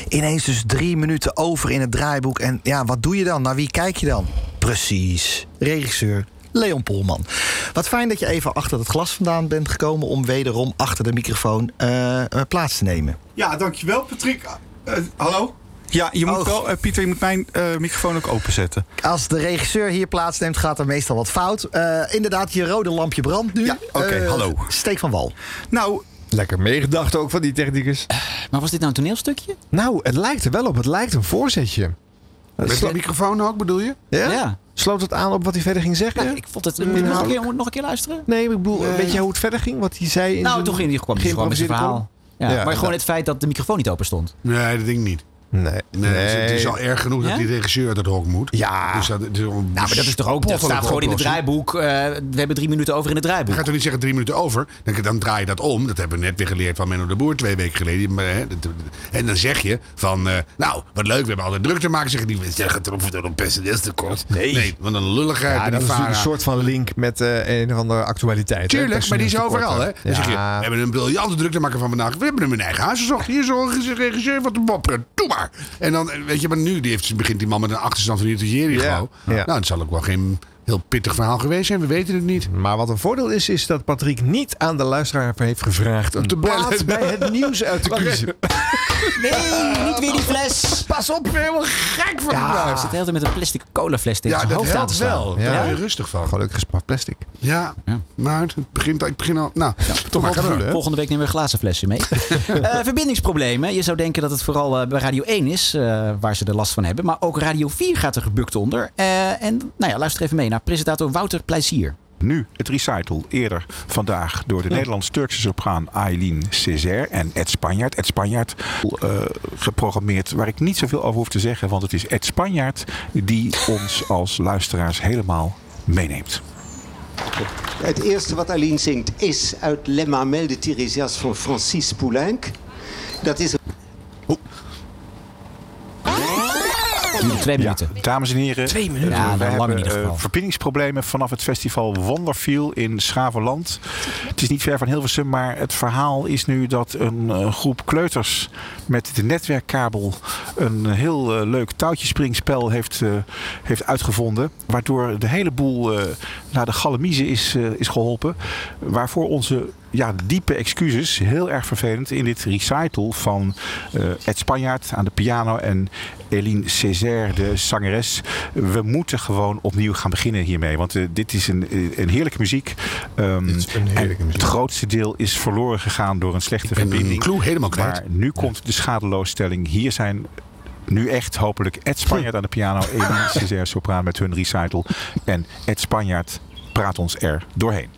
Speaker 21: Ineens dus drie minuten over in het draaiboek. En ja, wat doe je dan? Naar wie kijk je dan? Precies, regisseur Leon Polman. Wat fijn dat je even achter het glas vandaan bent gekomen... om wederom achter de microfoon eh, eh, plaats te nemen.
Speaker 24: Ja, dankjewel Patrick. Eh, hallo? Oh. Ja, je moet wel,
Speaker 4: eh,
Speaker 24: Pieter, je moet mijn microfoon ook openzetten.
Speaker 21: Als de regisseur hier plaatsneemt, gaat er meestal wat fout. Eh, inderdaad, je rode lampje brandt nu. Ja,
Speaker 24: oké, hallo.
Speaker 21: Steek van wal.
Speaker 24: Nou...
Speaker 1: Lekker meegedacht ook van die technicus.
Speaker 2: Maar was dit nou een toneelstukje?
Speaker 1: Nou, het lijkt er wel op. Het lijkt een voorzetje.
Speaker 3: Met de microfoon ook, bedoel je?
Speaker 1: Ja? Sloot het aan op wat hij verder ging zeggen?
Speaker 2: ik vond het... Moet ik nog een keer, moet ik nog een keer luisteren?
Speaker 1: Nee, ik bedoel,
Speaker 2: Nee.
Speaker 1: weet je hoe het verder ging? Wat hij zei? In
Speaker 2: Nou,
Speaker 1: zijn
Speaker 2: toen ging hij gewoon, dus gewoon met zijn
Speaker 1: geïmproviseerde
Speaker 2: verhaal.
Speaker 1: column?
Speaker 2: Ja,
Speaker 1: Ja,
Speaker 2: maar
Speaker 1: ja.
Speaker 2: gewoon het feit dat de microfoon niet open stond.
Speaker 3: Nee, dat ding niet.
Speaker 1: Nee.
Speaker 3: dus het is
Speaker 2: Nee.
Speaker 3: al erg genoeg
Speaker 2: Ja?
Speaker 3: dat die regisseur uit het hok moet.
Speaker 1: Ja.
Speaker 3: Dus dat, nou,
Speaker 2: Nou, maar dat is toch ook... Dat staat gewoon in het draaiboek. eh, we hebben drie minuten over in het draaiboek.
Speaker 3: Je gaat toch niet zeggen drie minuten over? Dan, dan draai je dat om. Dat hebben we net weer geleerd van Menno de Boer twee weken geleden. Maar, hè, dat- En dan zeg je van, eh, nou, wat leuk, we hebben altijd druk te maken. Zeggen die, we zeggen het erover door een personeelstekort. Nee. nee, want een lulligheid.
Speaker 1: Ja,
Speaker 3: met
Speaker 1: dat is
Speaker 3: die
Speaker 1: natuurlijk een
Speaker 3: VARA.
Speaker 1: soort van link met eh, een of andere actualiteit. hè?
Speaker 3: Tuurlijk, maar die is overal, hè? Dan zeg je, we
Speaker 1: Ja.
Speaker 3: hebben een briljante druk te maken van vandaag. We hebben hem in eigen huis gezocht. Hier is een regisseur van de Bob. Doe maar. En dan, eh, weet je, maar nu die heeft, begint die man met een achterstand van Jericho. Jericho. Nou, dat zal ook wel geen heel pittig verhaal geweest zijn. We weten het niet.
Speaker 1: Maar wat een voordeel is, is dat Patrick niet aan de luisteraar heeft gevraagd om
Speaker 3: te bellen.
Speaker 1: plaats bij het nieuws uit te kiezen.
Speaker 2: Nee, niet weer die fles.
Speaker 3: Pas op, ik ben helemaal gek van
Speaker 2: Ja, hij zit de hele tijd met een plastic colafles tegen
Speaker 3: Ja,
Speaker 2: zijn
Speaker 3: dat
Speaker 2: hoofd aan
Speaker 3: helpt
Speaker 2: te slaan.
Speaker 3: wel. Daar word je rustig van.
Speaker 1: Gelukkig gespaard plastic.
Speaker 3: Ja, maar het begint, ik begin al... Nou, toch maar
Speaker 2: Volgende,
Speaker 3: gaan we
Speaker 2: volgende week nemen we een glazen flesje mee. Eh, verbindingsproblemen. Je zou denken dat het vooral eh, bij Radio 1 is eh, waar ze er last van hebben. Maar ook Radio 4 gaat er gebukt onder. Eh, en nou ja, luister even mee naar presentator Wouter Plezier.
Speaker 4: Nu het recital, eerder vandaag door de
Speaker 2: Ja.
Speaker 4: Nederlands-Turkse sopraan Aileen Césaire en Ed Spanjaard. Ed Spanjaard eh, geprogrammeerd, waar ik niet zoveel over hoef te zeggen, want het is Ed Spanjaard die ons als luisteraars helemaal meeneemt.
Speaker 8: Het eerste wat Aline zingt is uit Les Mamelles de Tiresias van Francis Poulenc. Dat is...
Speaker 2: Twee minuten.
Speaker 4: dames en heren,
Speaker 2: Twee minuten? Ja,
Speaker 4: we
Speaker 2: nou, lang in
Speaker 4: hebben
Speaker 2: ieder geval.
Speaker 4: eh, verbindingsproblemen vanaf het festival Wonderfiel in Schavenland. Het is niet ver van Hilversum, maar het verhaal is nu dat een eh, groep kleuters met de netwerkkabel een heel eh, leuk touwtjespringspel heeft, eh, heeft uitgevonden. Waardoor de hele boel eh, naar de galamiezen is, eh, is geholpen. Waarvoor onze ja, diepe excuses. Heel erg vervelend in dit recital van eh, Ed Spanjaard aan de piano en Eline Césaire, de zangeres. We moeten gewoon opnieuw gaan beginnen hiermee. Want eh, dit is een, een heerlijke muziek. Ehm, en Het grootste deel is verloren gegaan door een slechte verbinding.
Speaker 3: clue helemaal kwijt.
Speaker 4: Maar nu komt de schadeloosstelling. Hier zijn nu echt hopelijk Ed Spanjaard aan de piano, Eline Césaire sopraan met hun recital. En Ed Spanjaard praat ons er doorheen.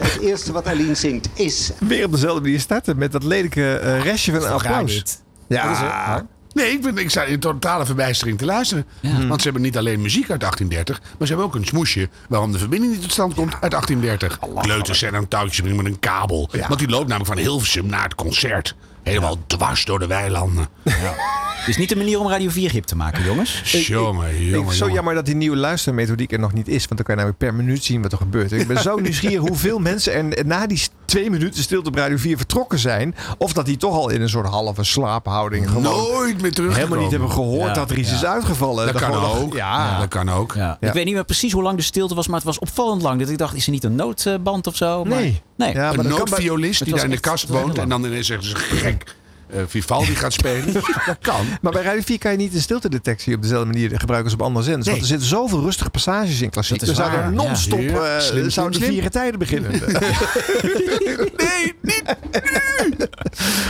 Speaker 8: Het eerste wat Aline zingt is...
Speaker 1: Weer op dezelfde manier starten met dat lelijke eh, restje van een
Speaker 8: toch raar
Speaker 1: applaus.
Speaker 8: dit?
Speaker 1: Ja.
Speaker 3: Nee, ik, ben, ik sta in totale verbijstering te luisteren. Want ze hebben niet alleen muziek uit 1830, maar ze hebben ook een smoesje waarom de verbinding niet tot stand komt uit 1830. Kleuters zijn aan het touwtje met een kabel. Want die loopt namelijk van Hilversum naar het concert. Helemaal dwars door de weilanden.
Speaker 2: Het is niet de manier om Radio 4 hip te maken, jongens.
Speaker 3: Jongen, jongen,
Speaker 1: Ik vind het
Speaker 3: jongen.
Speaker 1: zo jammer dat die nieuwe luistermethodiek er nog niet is. Want dan kan je namelijk per minuut zien wat er gebeurt. Ik ben zo nieuwsgierig hoeveel mensen er na die twee minuten stilte op Radio 4 vertrokken zijn. Of dat die toch al in een soort halve slaaphouding gewoon
Speaker 3: Nooit meer terug.
Speaker 1: helemaal niet hebben gehoord
Speaker 2: Ja,
Speaker 1: dat er iets
Speaker 2: ja.
Speaker 1: is uitgevallen.
Speaker 3: Dat kan
Speaker 1: gewoon-
Speaker 3: ook.
Speaker 1: Ja.
Speaker 3: Dat kan ook.
Speaker 2: Ik weet niet meer precies hoe lang de stilte was, maar het was opvallend lang. Dat ik dacht, is er niet een noodband of zo? Maar,
Speaker 3: Nee.
Speaker 2: nee.
Speaker 3: een noodviolist
Speaker 2: Het
Speaker 3: die
Speaker 2: was
Speaker 3: daar in de
Speaker 2: echt
Speaker 3: kast
Speaker 2: heel
Speaker 3: woont
Speaker 2: lang.
Speaker 3: en dan ineens zeggen ze gek. eh, Vivaldi gaat spelen. dat kan.
Speaker 1: Maar bij Radio 4 kan je niet de stiltedetectie op dezelfde manier gebruiken als op andere zenders. Want er zitten zoveel rustige passages in
Speaker 3: Dus
Speaker 1: klassiek.
Speaker 2: Dat is
Speaker 1: Dan zouden er
Speaker 2: waar, ja.
Speaker 1: non-stop
Speaker 2: Ja.
Speaker 1: eh,
Speaker 2: Slim, slim,
Speaker 1: zouden de
Speaker 2: slim.
Speaker 1: vieren tijden beginnen.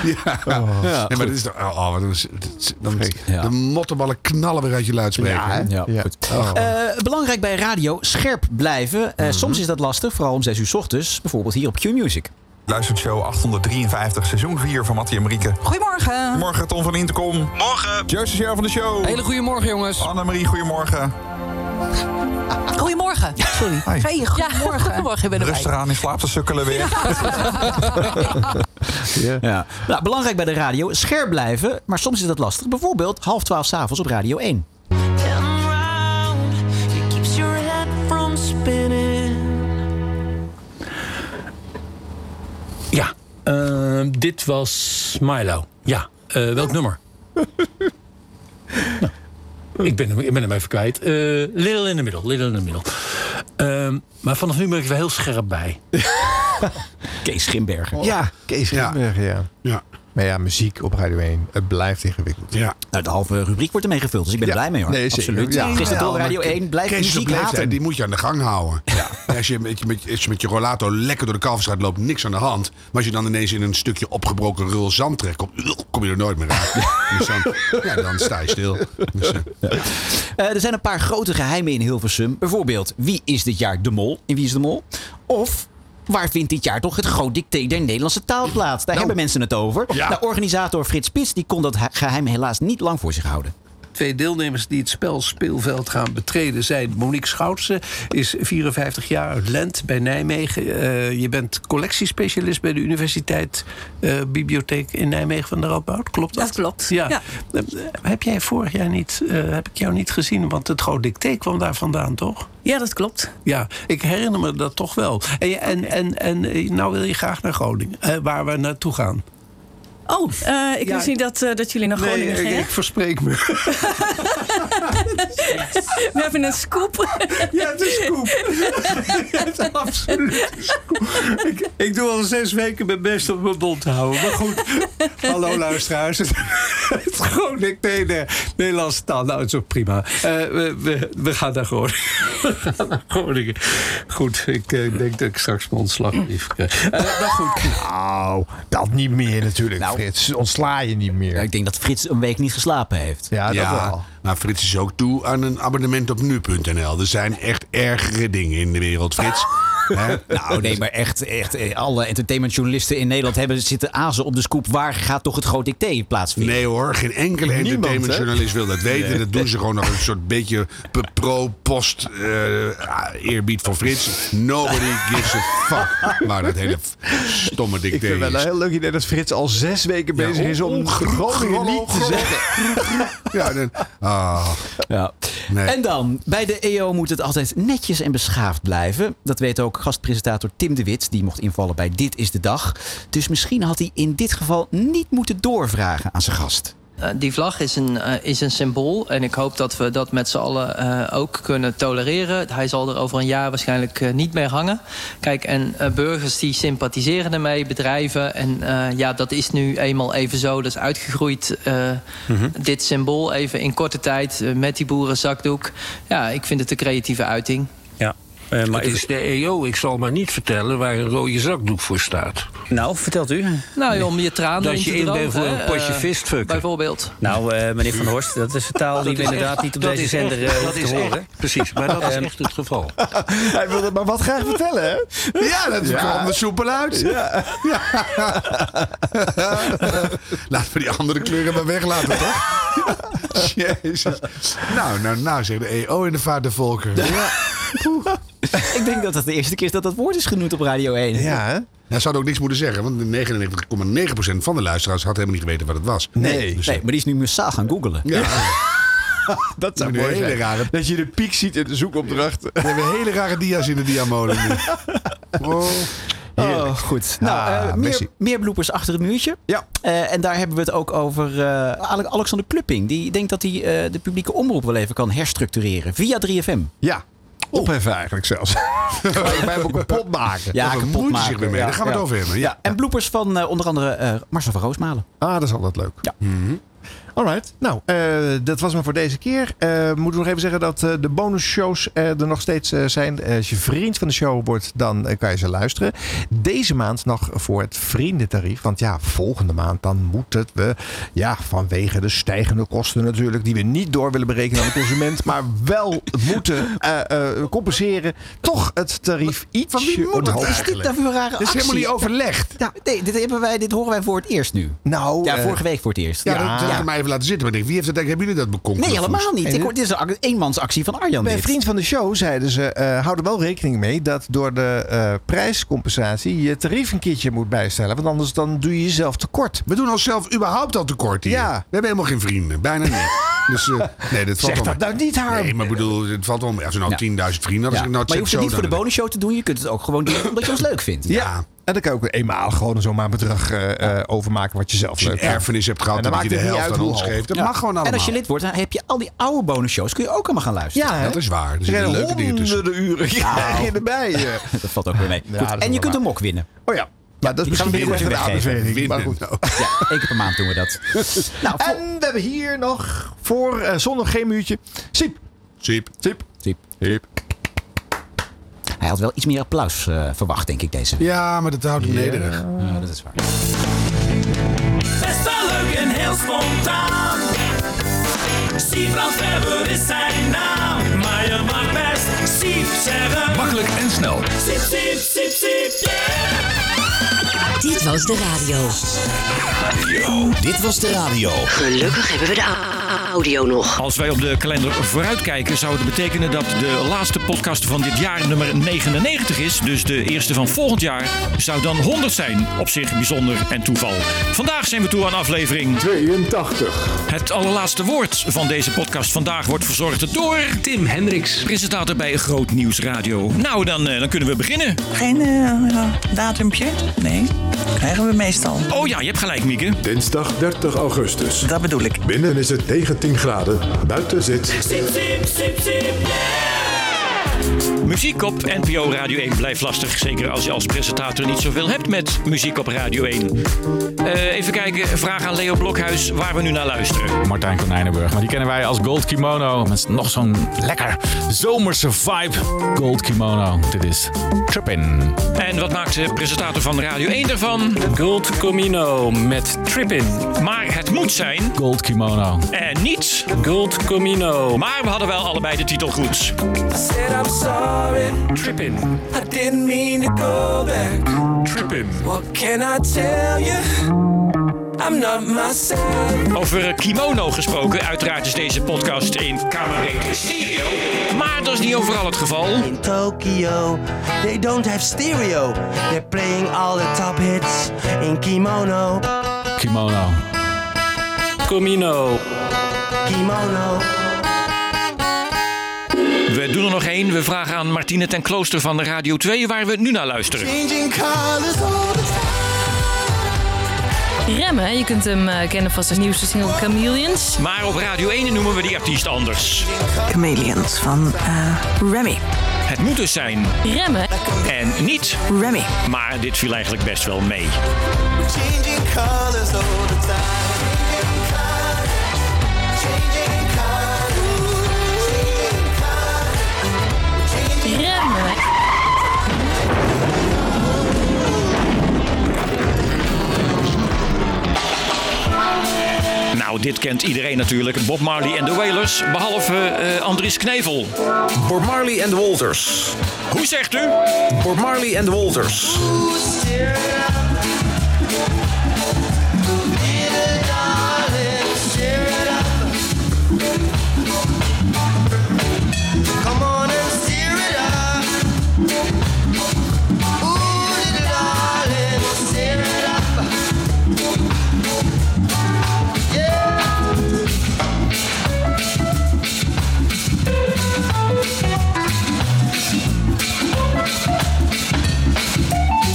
Speaker 3: Ja.
Speaker 1: Ja,
Speaker 3: nee, maar
Speaker 1: Oh, goed.
Speaker 3: dit is toch- oh, oh, wat een- dan,
Speaker 2: Ja.
Speaker 3: De mottenballen knallen weer uit je luidspreker.
Speaker 2: Ja, hè? Ja,
Speaker 3: Ja. Oh.
Speaker 2: Eh, belangrijk bij radio, scherp blijven. Eh,
Speaker 3: Mhm.
Speaker 2: Soms is dat lastig, vooral om 6 uur 's ochtends. Bijvoorbeeld hier op Q-Music.
Speaker 10: Luistert show 853, seizoen 4 van Mattie en Marieke. Goedemorgen. Morgen Tom van Intercom. Morgen. Joost is jou van de show. Hele goedemorgen jongens. Annemarie, goedemorgen.
Speaker 23: Goedemorgen. Sorry. Hey, goedemorgen. goedemorgen, ik ben erbij.
Speaker 10: Rustig aan in slaap te sukkelen weer.
Speaker 2: Ja. Nou, belangrijk bij de radio, scherp blijven. Maar soms is dat lastig. Bijvoorbeeld half 12 's avonds op Radio 1.
Speaker 11: It keeps your head from spinning.
Speaker 12: Ja, eh, dit was Milo. Ja, eh, welk nummer? nou, ik, ben, hem- ik ben hem even kwijt. Eh little in the middle, little in the middle. Ehm, maar vanaf nu ben ik er wel heel scherp bij.
Speaker 2: Kees Schimberger.
Speaker 1: Ja, Kees Grimberg, ja.
Speaker 3: ja.
Speaker 1: Maar ja, muziek op Radio 1, het blijft ingewikkeld.
Speaker 3: Ja.
Speaker 2: Nou, de halve rubriek wordt ermee gevuld, dus ik ben er blij mee hoor.
Speaker 1: Nee, zeker.
Speaker 2: Absoluut.
Speaker 1: Ja.
Speaker 2: Gisteren door
Speaker 1: Ja,
Speaker 2: Radio
Speaker 1: maar
Speaker 2: 1, blijf
Speaker 3: Kees is op
Speaker 2: muziek
Speaker 3: leeftijd,
Speaker 2: haten.
Speaker 3: Die moet je aan de gang houden. Ja, Als, je met, met, als je met je rollator lekker door de Kalverstraat loopt, niks aan de hand. Maar als je dan ineens in een stukje opgebroken rul zand trekt, kom, kom je er nooit meer uit. Dus dan, ja, dan sta je stil. Dus, eh,
Speaker 2: Eh, er zijn een paar grote geheimen in Hilversum. Bijvoorbeeld, wie is dit jaar de mol? En wie is de mol? Of... Waar vindt dit jaar toch het groot dicté der Nederlandse taal plaats? Daar hebben mensen het over. Nou, organisator Frits Spits die kon dat he- geheim helaas niet lang voor zich houden.
Speaker 25: Twee deelnemers die het spel speelveld gaan betreden zijn Monique Schoutsen, is 54 jaar uit Lent bij Nijmegen. Eh, je bent collectiespecialist bij de Universiteit eh, Bibliotheek in Nijmegen van de Radboud. Klopt dat? Dat klopt. Ja.
Speaker 11: ja.
Speaker 25: Eh, heb jij vorig jaar niet, eh, heb ik jou niet gezien? Want het groot dicté kwam daar vandaan, toch?
Speaker 11: Ja, dat klopt.
Speaker 25: Ja, ik herinner me dat toch wel. En, je- en, en, en eh, nou wil je graag naar Groningen, eh, waar we naartoe gaan.
Speaker 26: Oh, eh, ik
Speaker 11: Ja.
Speaker 26: wist niet dat, eh, dat jullie naar
Speaker 11: nee,
Speaker 26: Groningen
Speaker 11: ik,
Speaker 26: gingen.
Speaker 11: ik verspreek me.
Speaker 26: We hebben een scoop.
Speaker 11: Ja, het is scoop. Het is absoluut scoop. Ik, ik doe al zes weken mijn best om mijn mond te houden. Maar goed, hallo luisteraars. Het, het Groningen, nee, nee, Nederlandse taal. Nou, het is ook prima. Eh, we, we, we gaan naar Groningen. We gaan naar Groningen. Goed, ik eh, denk dat ik straks mijn ontslagbrief krijg. Eh, maar goed.
Speaker 1: Nou, dat niet meer natuurlijk, Frits. Ontsla je niet meer.
Speaker 2: ik denk dat Frits een week niet geslapen heeft.
Speaker 1: Ja,
Speaker 3: ja, maar Frits is ook toe aan een abonnement op nu.nl. Er zijn echt ergere dingen in de wereld, Frits. Hè?
Speaker 2: Nou, nee, maar echt, echt eh, alle entertainmentjournalisten in Nederland hebben zitten azen op de scoop. Waar gaat toch het groot dicté plaatsvinden?
Speaker 3: Nee hoor, geen enkele entertainmentjournalist wil dat weten. Dat doen ze gewoon nog een soort beetje pe- pro-post eh, eerbied voor Frits. Nobody gives a fuck. Maar dat hele f- stomme ding
Speaker 1: Ik vind wel een heel leuk idee dat Frits al zes weken
Speaker 3: Ja,
Speaker 1: bezig is om
Speaker 3: on-
Speaker 1: Groningen
Speaker 3: Grollo,
Speaker 1: niet te
Speaker 3: Grollo.
Speaker 1: zeggen.
Speaker 3: Ja, dan, ah.
Speaker 2: Ja. En dan, bij de EO moet het altijd netjes en beschaafd blijven. Dat weet ook gastpresentator Tim de Wit, die mocht invallen bij Dit is de Dag. Dus misschien had hij in dit geval niet moeten doorvragen aan zijn gast.
Speaker 27: Eh, die vlag is een, eh, is een symbool. En ik hoop dat we dat met z'n allen eh, ook kunnen tolereren. Hij zal er over een jaar waarschijnlijk eh, niet meer hangen. Kijk, en eh, burgers die sympathiseren ermee, bedrijven. En eh, ja, dat is nu eenmaal even zo. Dat is uitgegroeid, eh,
Speaker 25: Mhm.
Speaker 27: dit symbool, even in korte tijd eh, met die boerenzakdoek. Ja, ik vind het een creatieve uiting.
Speaker 25: Ja. Eh, maar het is de EO, ik zal maar niet vertellen waar een rode zakdoek voor staat. Nou, vertelt u.
Speaker 27: Nou, joh, om je tranen
Speaker 25: Dat
Speaker 27: om
Speaker 25: je
Speaker 27: te
Speaker 25: in
Speaker 27: drogen,
Speaker 25: bent voor een
Speaker 27: hè,
Speaker 25: potje
Speaker 27: eh,
Speaker 25: visfucken.
Speaker 27: Bijvoorbeeld.
Speaker 25: Nou, meneer Van Horst,
Speaker 28: Dat is een taal die we inderdaad niet op deze zender eh,
Speaker 25: Dat
Speaker 28: hoeven
Speaker 25: is
Speaker 28: te
Speaker 25: echt-
Speaker 28: horen.
Speaker 25: Precies, maar dat is
Speaker 28: Ehm,
Speaker 25: echt het geval.
Speaker 1: Hij wil het maar wat graag vertellen, hè?
Speaker 3: Ja, dat kwam er soepel uit.
Speaker 1: Ja.
Speaker 3: Laten we die andere kleuren maar weglaten, toch? Jezus. Nou, nou, nou, zeg de EO in de vaart der volken.
Speaker 2: Ik denk dat dat de eerste keer is dat dat woord is genoemd op Radio 1.
Speaker 1: Ja, hè?
Speaker 3: Nou, ze hadden ook niks moeten zeggen, want 99,9% van de luisteraars had helemaal niet geweten wat het was. Dus, eh,
Speaker 2: Nee, nee, maar die is nu massaal gaan googelen.
Speaker 1: Dat zou
Speaker 3: zou mooi
Speaker 1: mooi
Speaker 3: zijn.
Speaker 1: Dat je de piek ziet in de zoekopdracht. We
Speaker 3: hebben hele rare dia's in de diamolen nu.
Speaker 2: Oh, goed. Nou, eh, meer,
Speaker 1: Ah, Messi.
Speaker 2: meer bloepers achter het muurtje. Eh,
Speaker 1: Ja.
Speaker 2: en daar hebben we het ook over eh, Ale- Alexander Plupping. Die denkt dat hij eh, de publieke omroep wel even kan herstructureren via 3FM.
Speaker 1: Ja. Opheffen eigenlijk zelfs. Wij hebben kapot maken.
Speaker 2: Ja,
Speaker 1: Daar
Speaker 2: kapot
Speaker 1: bemoeit hij
Speaker 2: maken.
Speaker 1: zich weer mee. Daar gaan we het over hebben, ja.
Speaker 2: En bloepers van eh, onder andere eh, Marcel van Roosmalen.
Speaker 1: Ah, dat is altijd leuk.
Speaker 2: Ja.
Speaker 1: Alright, nou, eh, dat was maar voor deze keer. Eh, moeten we nog even zeggen dat eh, de bonusshows eh, er nog steeds eh, zijn. Eh, als je vriend van de show wordt, dan eh, kan je ze luisteren. Deze maand nog voor het vriendentarief. Want ja, volgende maand dan moet het we... Ja, vanwege de stijgende kosten natuurlijk... die we niet door willen berekenen aan de consument... maar wel moeten eh, eh, compenseren. Toch het tarief iets
Speaker 2: Van wie moet
Speaker 1: omhoog
Speaker 2: dat? Is dit
Speaker 1: eigenlijk.
Speaker 2: nou voor een rare
Speaker 1: Dat is helemaal
Speaker 2: actie?
Speaker 1: niet overlegd.
Speaker 2: Ja, nee, dit, hebben wij, dit horen wij voor het eerst nu.
Speaker 1: Nou,
Speaker 2: ja,
Speaker 3: eh,
Speaker 2: vorige week voor het eerst.
Speaker 3: Ja, dat had ik mij even laten zitten. Maar ik denk, wie heeft dat eigenlijk, hebben jullie dat bekomen?
Speaker 2: Nee, helemaal niet. Ik, hoor- dit is een ac- eenmansactie van Arjan.
Speaker 1: Bij
Speaker 2: dit.
Speaker 1: Vriend van de Show zeiden ze: eh hou er wel rekening mee dat door de eh, prijscompensatie je tarief een keertje moet bijstellen. Want anders dan doe je jezelf tekort.
Speaker 3: We doen onszelf überhaupt al tekort hier.
Speaker 1: Ja.
Speaker 3: We hebben helemaal geen vrienden, bijna niet. Dus, eh, nee, dat valt
Speaker 1: Zeg
Speaker 3: wel
Speaker 1: dat
Speaker 3: mee.
Speaker 1: nou niet, Harm.
Speaker 3: Nee, maar ik bedoel, het valt wel mee. Als we nou 10.000 vrienden hadden,
Speaker 2: Ja,
Speaker 3: als ik nou
Speaker 2: maar je hoeft
Speaker 3: zo
Speaker 2: het niet voor de
Speaker 3: dan-
Speaker 2: bonusshow te doen. Je kunt het ook gewoon doen omdat je ons leuk vindt.
Speaker 1: Ja. En dan kan je ook eenmaal gewoon zomaar een bedrag eh, eh, overmaken wat je zelf
Speaker 3: je
Speaker 1: leuk
Speaker 3: een erfenis hebt gehad,
Speaker 1: En dan
Speaker 3: dan moet
Speaker 1: maakt
Speaker 3: je
Speaker 1: het
Speaker 3: de
Speaker 1: niet
Speaker 3: helft
Speaker 1: uit
Speaker 3: aan
Speaker 1: hoe
Speaker 3: ons
Speaker 1: hoog.
Speaker 3: geeft. Dat
Speaker 1: Ja.
Speaker 3: mag gewoon
Speaker 2: En
Speaker 3: allemaal.
Speaker 2: als je lid wordt, dan heb je al die oude bonusshows. Kun je ook allemaal gaan luisteren.
Speaker 1: Ja, hè?
Speaker 3: Dat is waar. Er
Speaker 1: Er
Speaker 3: zitten
Speaker 1: zijn
Speaker 3: leuke dingen tussen.
Speaker 1: honderden uren krijg je erbij. eh.
Speaker 2: dat valt ook weer mee.
Speaker 1: Ja,
Speaker 2: Goed,
Speaker 1: dat is
Speaker 2: en je
Speaker 1: wel
Speaker 2: kunt een
Speaker 1: waar.
Speaker 2: mok winnen.
Speaker 1: Oh ja. Maar dat
Speaker 2: Die
Speaker 1: is
Speaker 2: gaan we
Speaker 1: misschien weer
Speaker 2: binnenkort
Speaker 1: een
Speaker 2: weer weggeven.
Speaker 1: aanbeveling. Maar goed. nou.
Speaker 2: Ja, één keer per maand doen we dat.
Speaker 1: en we hebben hier nog voor eh, zonder geen uurtje. Siep.
Speaker 3: Siep.
Speaker 1: Siep.
Speaker 2: Siep. Hij had wel iets meer applaus eh, verwacht, denk ik, deze week.
Speaker 3: Ja, maar dat houdt hem nederig.
Speaker 2: Ja, dat is waar.
Speaker 29: Best wel leuk en heel spontaan. Siebrand Verber is zijn naam. Maar je mag best Siep zeggen.
Speaker 30: Makkelijk en snel.
Speaker 29: Siep, siep, siep, siep,
Speaker 31: Dit was de radio.
Speaker 30: Dit was de radio.
Speaker 31: Gelukkig hebben we de a- audio nog.
Speaker 12: Als wij op de kalender vooruitkijken, zou het betekenen dat de laatste podcast van dit jaar nummer 99 is. Dus de eerste van volgend jaar zou dan 100 zijn. Op zich bijzonder en toeval. Vandaag zijn we toe aan aflevering
Speaker 32: 82.
Speaker 12: Het allerlaatste woord van deze podcast vandaag wordt verzorgd door... Tim Hendricks. Presentator bij Groot Nieuws Radio. Nou, dan, eh, dan kunnen we beginnen.
Speaker 16: Geen eh, datumpje? Nee. Krijgen we meestal.
Speaker 12: Oh ja, je hebt gelijk, Mieke.
Speaker 13: Dinsdag 30 augustus. Dat bedoel ik. Binnen is het 19 graden. Buiten zit...
Speaker 11: Sip, sip, sip, sip,
Speaker 12: Muziek op NPO Radio 1 blijft lastig. Zeker als je als presentator niet zoveel hebt met muziek op Radio 1. Eh, even kijken, vraag aan Leo Blokhuis waar we nu naar luisteren.
Speaker 8: Martijn Konijnenburg. Maar die kennen wij als Gold Kimono. Met nog zo'n lekker zomerse vibe. Gold Kimono. Dit is Trippin.
Speaker 12: En wat maakt de presentator van Radio 1 daarvan?
Speaker 8: Gold Comino met Oh. Trippin.
Speaker 12: Maar het moet zijn...
Speaker 8: Gold Kimono.
Speaker 12: En niets... Gold Comino. Maar we hadden wel allebei de titel goed.
Speaker 11: I said I'm sorry.
Speaker 12: Trippin.
Speaker 11: I didn't mean to go back.
Speaker 12: Trippin.
Speaker 11: What can I tell you? I'm not myself.
Speaker 12: Over eh, kimono gesproken, uiteraard is deze podcast in Kamerink Stereo. Maar dat is niet overal het geval.
Speaker 33: In Tokyo, they don't have stereo. They're playing all the top hits in kimono.
Speaker 8: Kimono.
Speaker 12: Comino.
Speaker 33: Kimono.
Speaker 12: We doen er nog één. We vragen aan Martine ten Klooster van Radio 2 waar we nu naar luisteren.
Speaker 11: Changing colors all the time.
Speaker 34: Remmen, je kunt hem eh, kennen van zijn nieuwste single Chameleons.
Speaker 12: Maar op Radio 1 noemen we die artiest anders.
Speaker 34: Chameleons van eh, Remy.
Speaker 12: Het moet dus zijn.
Speaker 34: Remmen.
Speaker 12: En niet.
Speaker 34: Remy.
Speaker 12: Maar dit viel eigenlijk best wel mee.
Speaker 11: Changing colors all the time.
Speaker 34: Remmen.
Speaker 12: Nou, dit kent iedereen natuurlijk. Bob Marley en de Wailers. Behalve eh, Andries Knevel.
Speaker 35: Bob Marley en de Walters.
Speaker 12: Hoe zegt u?
Speaker 35: Bob Marley en de Walters.
Speaker 11: Come on and stir it up. Ooh, little darling, stir it up.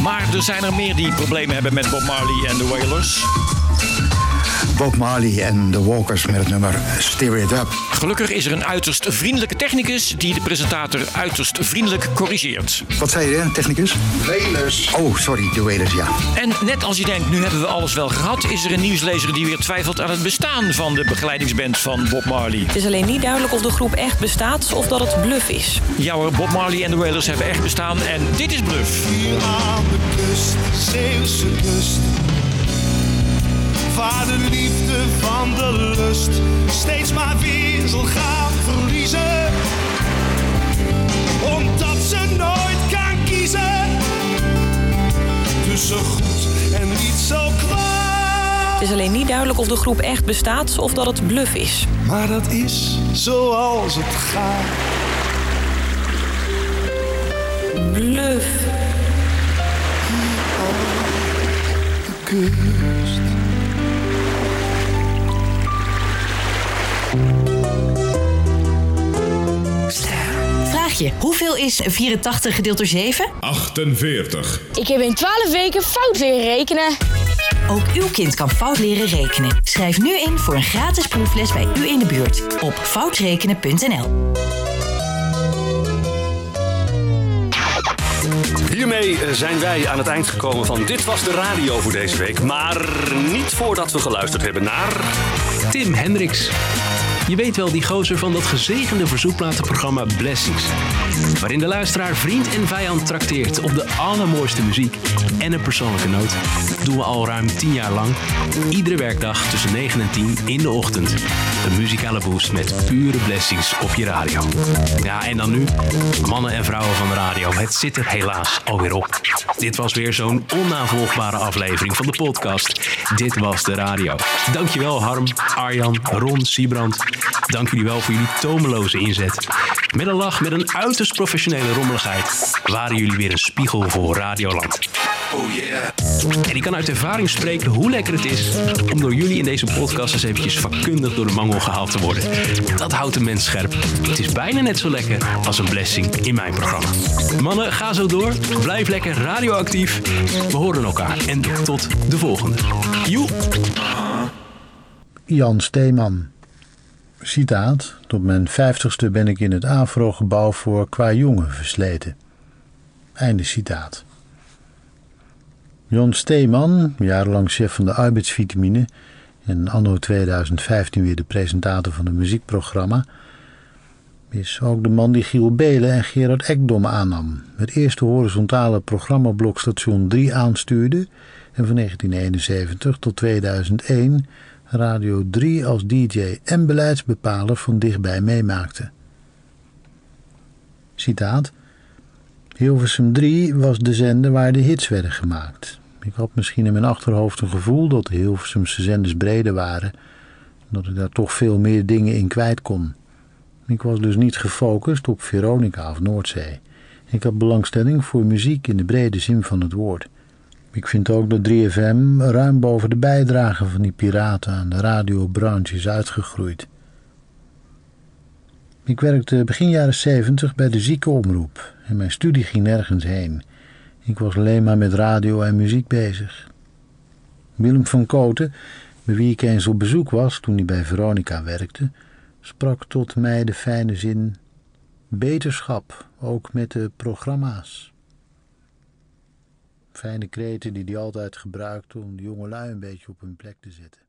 Speaker 12: Maar er zijn er meer die problemen hebben met Bob Marley en de Wailers.
Speaker 9: Bob Marley en de Walkers met het nummer Steer It Up.
Speaker 12: Gelukkig is er een uiterst vriendelijke technicus die de presentator uiterst vriendelijk corrigeert.
Speaker 9: Wat zei je, technicus? Wailers. Oh, sorry, de Wailers, ja.
Speaker 12: En net als je denkt, nu hebben we alles wel gehad, is er een nieuwslezer die weer twijfelt aan het bestaan van de begeleidingsband van Bob Marley.
Speaker 26: Het is alleen niet duidelijk of de groep echt bestaat of dat het bluff is.
Speaker 12: Ja hoor, Bob Marley en de Wailers hebben echt bestaan en dit is bluff.
Speaker 11: Hier aan de kust, Zeeuwse kust. Waar de liefde van de lust steeds maar weer zal gaan verliezen. Omdat ze nooit kan kiezen tussen goed en niet zo kwaad.
Speaker 26: Het is alleen niet duidelijk of de groep echt bestaat of dat het bluff is.
Speaker 11: Maar dat is zoals het gaat.
Speaker 26: Bluff.
Speaker 27: Vraagje, hoeveel is 84 gedeeld door 7?
Speaker 36: 48.
Speaker 27: Ik heb in 12 weken fout leren rekenen. Ook uw kind kan fout leren rekenen. Schrijf nu in voor een gratis proefles bij u in de buurt op foutrekenen.nl.
Speaker 37: Hiermee eh, zijn wij aan het eind gekomen van Dit Was de Radio voor deze week. Maar niet voordat we geluisterd hebben naar...
Speaker 38: Tim Hendricks. Je weet wel, die gozer van dat gezegende verzoekplatenprogramma Blessings. Waarin de luisteraar vriend en vijand trakteert op de allermooiste muziek en een persoonlijke noot. Doen we al ruim 10 jaar lang. Iedere werkdag tussen 9 en 10 in de ochtend. Een muzikale boost met pure blessings op je radio. Ja, en dan nu, mannen en vrouwen van de radio, het zit er helaas alweer op. Dit was weer zo'n onnavolgbare aflevering van de podcast. Dit was de radio. Dankjewel Harm, Arjan, Ron, Siebrand. Dank jullie wel voor jullie tomeloze inzet. Met een lach, met een uiterst professionele rommeligheid, waren jullie weer een spiegel voor Radioland.
Speaker 11: Oh yeah.
Speaker 38: En ik kan uit ervaring spreken hoe lekker het is om door jullie in deze podcast eens eventjes vakkundig door de mangel gehaald te worden. Dat houdt de mens scherp. Het is bijna net zo lekker als een blessing in mijn programma. Mannen, ga zo door. Blijf lekker radioactief. We horen elkaar. En tot de volgende. Joe!
Speaker 9: Jan Steeman. Citaat. Tot mijn vijftigste ben ik in het AVRO-gebouw voor qua jongen versleten. Einde citaat. Jon Steeman, jarenlang chef van de arbeidsvitamine en anno 2015 weer de presentator van het muziekprogramma, is ook de man die Giel Belen en Gerard Ekdom aannam. Het eerste horizontale programmablok station 3 aanstuurde en van 1971 tot 2001 Radio 3 als DJ en beleidsbepaler van dichtbij meemaakte. Citaat. Hilversum 3 was de zender waar de hits werden gemaakt. Ik had misschien in mijn achterhoofd een gevoel dat de Hilversumse zenders breder waren. en Dat ik daar toch veel meer dingen in kwijt kon. Ik was dus niet gefocust op Veronica of Noordzee. Ik had belangstelling voor muziek in de brede zin van het woord. Ik vind ook dat 3FM ruim boven de bijdrage van die piraten aan de radiobranche is uitgegroeid. Ik werkte begin jaren 70 bij de ziekenomroep en mijn studie ging nergens heen. Ik was alleen maar met radio en muziek bezig. Willem van Koten, bij wie ik eens op bezoek was toen hij bij Veronica werkte, sprak tot mij de fijne zin: Beterschap, ook met de programma's. Fijne kreten die hij altijd gebruikte om de jongelui een beetje op hun plek te zetten.